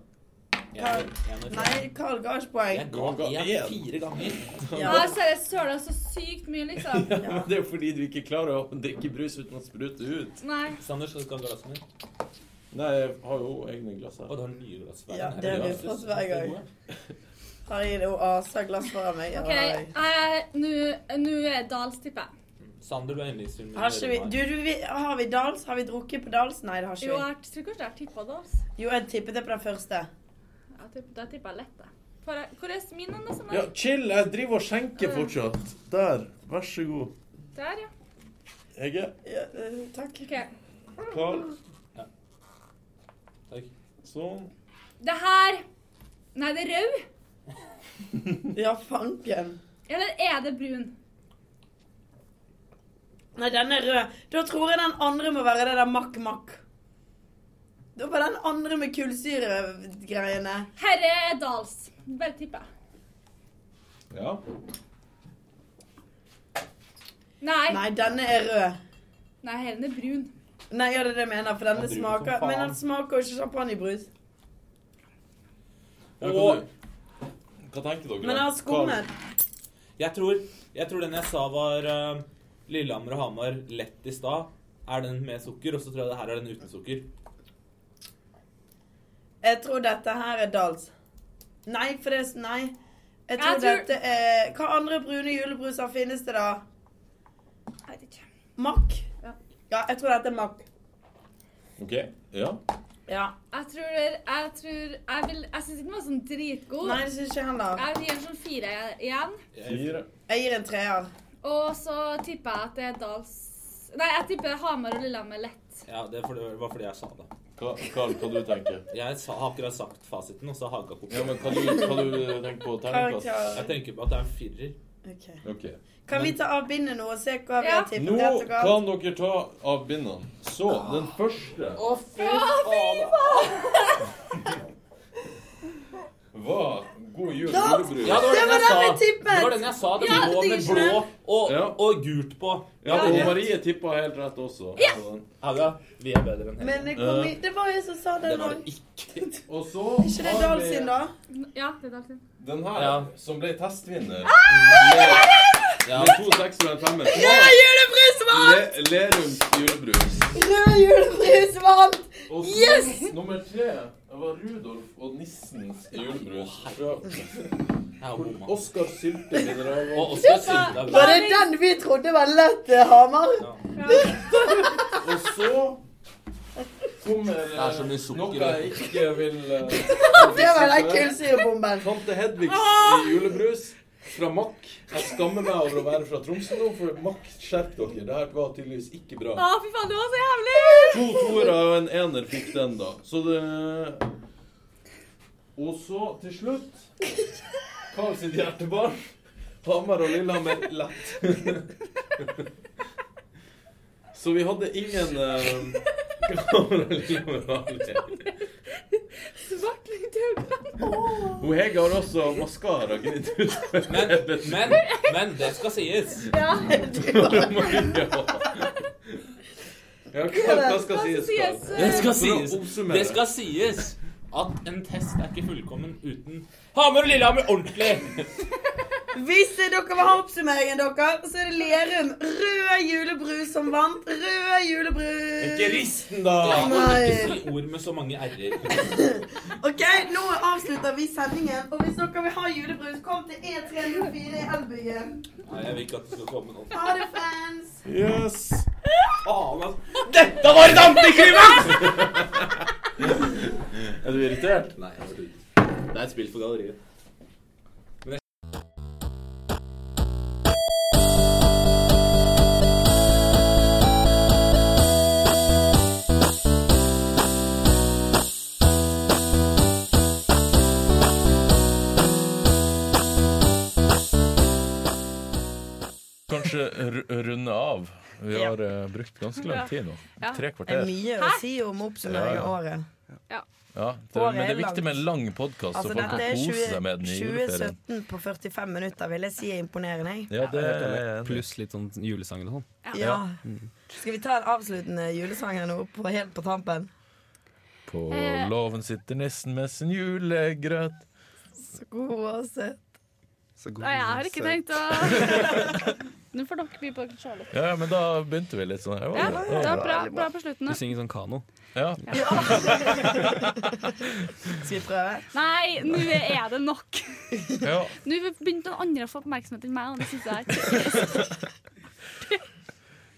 Ener- ener-
Nei, Carl ga ikke poeng.
Jeg ga
Jeg ga
én
én.
fire ganger.
Ja.
Ja, seriøst, søla så altså sykt mye, liksom.
Men Det er jo fordi du ikke klarer å drikke brus uten å sprute ut.
Nei.
Sander, skal du ta glassene dine?
Nei, jeg har jo egne glass
Å,
her.
du har nye glass hver
Ja,
gang.
det har vi
Glass.
fått hver gang. Har jeg noe asa glass foran meg? Ja,
OK,
det har jeg.
eh, nå nå er Dals, tipper jeg.
Sander, du er yndlingsfilmen
Har ikke vi, du, du, vi, har vi Dals? Har vi drukket på Dals? Nei, det har
Jo,
ikke vi.
jeg tror kanskje jeg har tippa Dals.
Jo, jeg tippet det på den første.
Jeg tipp- Da tipper jeg lett, jeg. Får jeg- Hvor er min hen? Sånn
Ja,
der?
chill. Jeg driver og skjenker fortsatt. Der. Vær så god.
der, ja.
Hege,
Ja, eh, takk.
OK.
Carl.
Takk.
Sånn.
Det her Nei, det er rød.
Ja, fanken.
Eller er det brun?
Nei, den er rød. Da tror jeg den andre må være det der makk-makk. Da var den andre med kullsyregreiene.
Herre er Dals. Bare tipper jeg.
Ja.
Nei.
Nei, denne er rød.
Nei, herren er brun.
Nei, ja, det er det jeg mener, for denne
Den driver som
smaker
faen.
Men den smaker jo ikke champagnebrus.
Ja,
Og-
kan du- Hva tenkte dere?
Men altså, den har skummet.
Jeg tror, jeg tror den jeg sa var eh, Lillehammer og Hamar lett i stad, er den med sukker. Og så tror jeg det her er den uten sukker.
Jeg tror dette her er Dals. Nei, for det er s- Nei. Jeg tror,
Jeg tror-
dette er Hva andre brune julebruser finnes det, da?
Jeg vet ikke.
Mack?
Ja.
Ja, jeg tror dette er Mack.
Carl. OK. Ja.
Ja.
Jeg tror Jeg, tror, jeg, vil- jeg syns ikke den var sånn dritgod.
Nei, det syns ikke jeg heller.
Jeg gir den sånn fire igjen.
Fire.
Jeg gir en treer.
Og så tipper jeg at det er Dals Nei, jeg tipper Hamar og Lillehammer lett.
Ja, det er fordi- det var fordi jeg sa det.
Hva, Carl, hva du tenker
Jeg sa, har akkurat sagt fasiten, og så haga kopi.
Ja, men hva du, hva du tenker på terningkast?
Jeg
Karakter.
tenker på at det er en firer.
Ok.
OK.
Kan vi ta av bindet nå og se hva vi
Ja.
har tippet?
Nå
rett og galt?
kan dere ta av bindene. Så, den første
Å, fy faen!
var God jul,
Da-
julebrus.
Ja, det var
Det
den
var
jeg sa.
den jeg tippet.
Det var den jeg sa. Den
Ja, det
blå
er
med
ikke
blå
det.
og,
Ja.
og gult på.
Ja, og Marie tippa helt rett også.
Haga, vi er bedre enn hele.
Men det, kom i, det var jeg som sa det
Det
nå.
var det ikke.
Og så
Ikke det Dahl sin, da?
Ja, det er Dals sin.
den her,
Ja.
som ble testvinner.
Ah!
Ja,
Med to seksere og en femmer.
Rød julebrus vant!
Le, Lerums julebrus.
Rød julebrus vant!
Og så,
Yes!
nummer tre var Rudolf og nissens julebrus. Fra
jeg har bomma.
Oskar Sylte Mineralvann.
Og Oskar Sylta.
Var det den vi trodde var lett, eh, Hamar?
Og så kommer eh,
Det er så mye sukker
noe
i
jeg ikke vil eh,
Det var den kullsyrebomben.
Tante Hedvigs julebrus.
fra Mack. Jeg skammer meg over å være fra Tromsø nå, for Mack, skjerp dere. Det her var tydeligvis ikke bra.
Å, fy faen, det var så jævlig!
To toere og en ener fikk den, da. Så det Og så, til slutt Karl sitt hjertebarn. Hamar og Lillehammer lett. Så vi hadde ingen eh, Hamar og Lillehammer var lett.
Svartling tøvler.
Hun Hege har også maskara gnidd ut.
Men, men, men det skal sies.
Ja.
Ja, hva, hva skal sies? Karl?
eh,
Det skal
For
sies.
å oppsummere.
Det skal sies at en test er ikke fullkommen uten Hamar og Lillehammer ordentlig.
Hvis dere vil ha oppsummeringen deres, så er det Lerum rød julebrus som vant. Rød
Ikke
julebrus!
risten, da!
Ja,
Nei.
Ikke si ord med så mange r-er.
OK, nå avslutter vi sendingen. Og hvis dere vil ha julebrus, kom til E E304 i Elbyen.
Nei, jeg vil ikke at det skal komme noe.
Ha det, fans!
Yes.
Faen, altså. Dette var et antiklimaks!
Er du irritert?
Nei, absolutt. Det er et spill for galleriet.
Kanskje r runde av. Vi
Ja.
har eh, brukt ganske lang tid nå.
Ja.
Tre
Det er
kvarter.
mye å si om oppsummeringen av året.
Ja, det,
Året
men det
er
er viktig
langt.
med en lang podkast, så
Altså,
folk
dette
kan
er
kose
20,
seg med den i juleferien.
2017 på 45 minutter, vil jeg si er imponerende. jeg.
Ja, det er Pluss
Pluss litt sånn julesang og sånn.
Ja. Skal vi ta en avsluttende julesang her nå, på, helt på tampen?
på låven sitter nissen med sin julegrøt.
Så god og søt.
Så god
Nei, jeg har ikke
søt.
tenkt å Nå får dere by på dere sjøl.
Ja, ja, men da begynte vi litt sånn. her.
Ja,
Ja,
det var bra, bra på slutten.
Du
nå.
synger sånn kano.
ja.
Skal vi prøve?
Nei, nå er det nok.
ja.
Nå begynte noen andre å få oppmerksomhet enn meg. Og det synes jeg er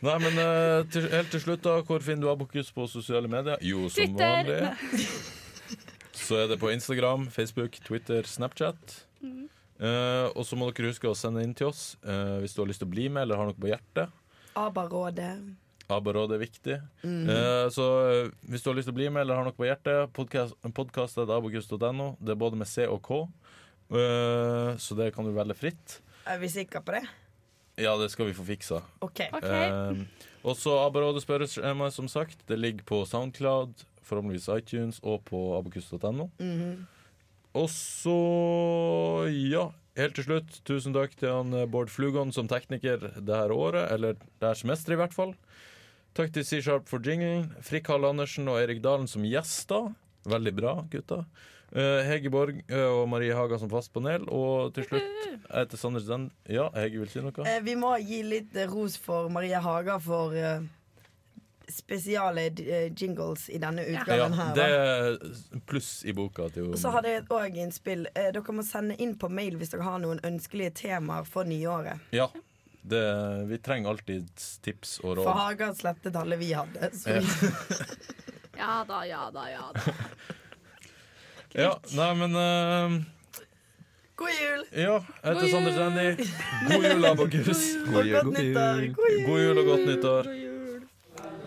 Nei, men eh, til, helt til slutt, da. Hvor finner du Abokus på sosiale medier? Jo, som
Twitter.
vanlig. Så er det på Instagram, Facebook, Twitter, Snapchat. Eh, og så må dere huske å sende inn til oss eh, hvis du har lyst til å bli med eller har noe på hjertet.
ABBA-rådet.
ABBA-råd er viktig. Eh, så eh, hvis du har lyst til å bli med eller har noe på hjertet, podkast.abogust.no. Det er både med C og K, Eh, så det kan du velge fritt.
Er vi sikre på det?
Ja, det skal vi få fiksa.
OK.
OK.
Eh, og så ABBA-rådet spørreskjema, som sagt. Det ligger på Soundcloud, forhåpentligvis iTunes og på abokus.no. Og så, ja Helt til slutt, tusen takk til han eh, Bård Flugon som tekniker det her året, eller det her semesteret i hvert fall. Takk til C-Sharp for jinglen, Frikk Hall Andersen og Erik Dalen som gjester. Veldig bra, gutta. Eh, Hege Borg eh, og Marie Haga som fast panel. Og til slutt, jeg heter Sander Zend. Ja, Hege vil si noe?
Eh, vi må gi litt eh, ros for Maria Haga for eh, spesiale eh, jingles i denne
Ja,
utgaven her.
det
da.
er pluss i boka til
Og så hadde jeg òg innspill. Eh, dere må sende inn på mail hvis dere har noen ønskelige temaer for nyåret.
Ja. Det, vi trenger alltid tips og
For
råd.
Haga slettet alle vi hadde. Så
Ja.
Ja da, ja da, ja da.
Ja, nei, men eh,
god jul!
Ja, jeg
God
heter Sander
jul!
Sendi. God jul, Abokus.
Og godt nyttår! God jul!
God jul og godt nyttår.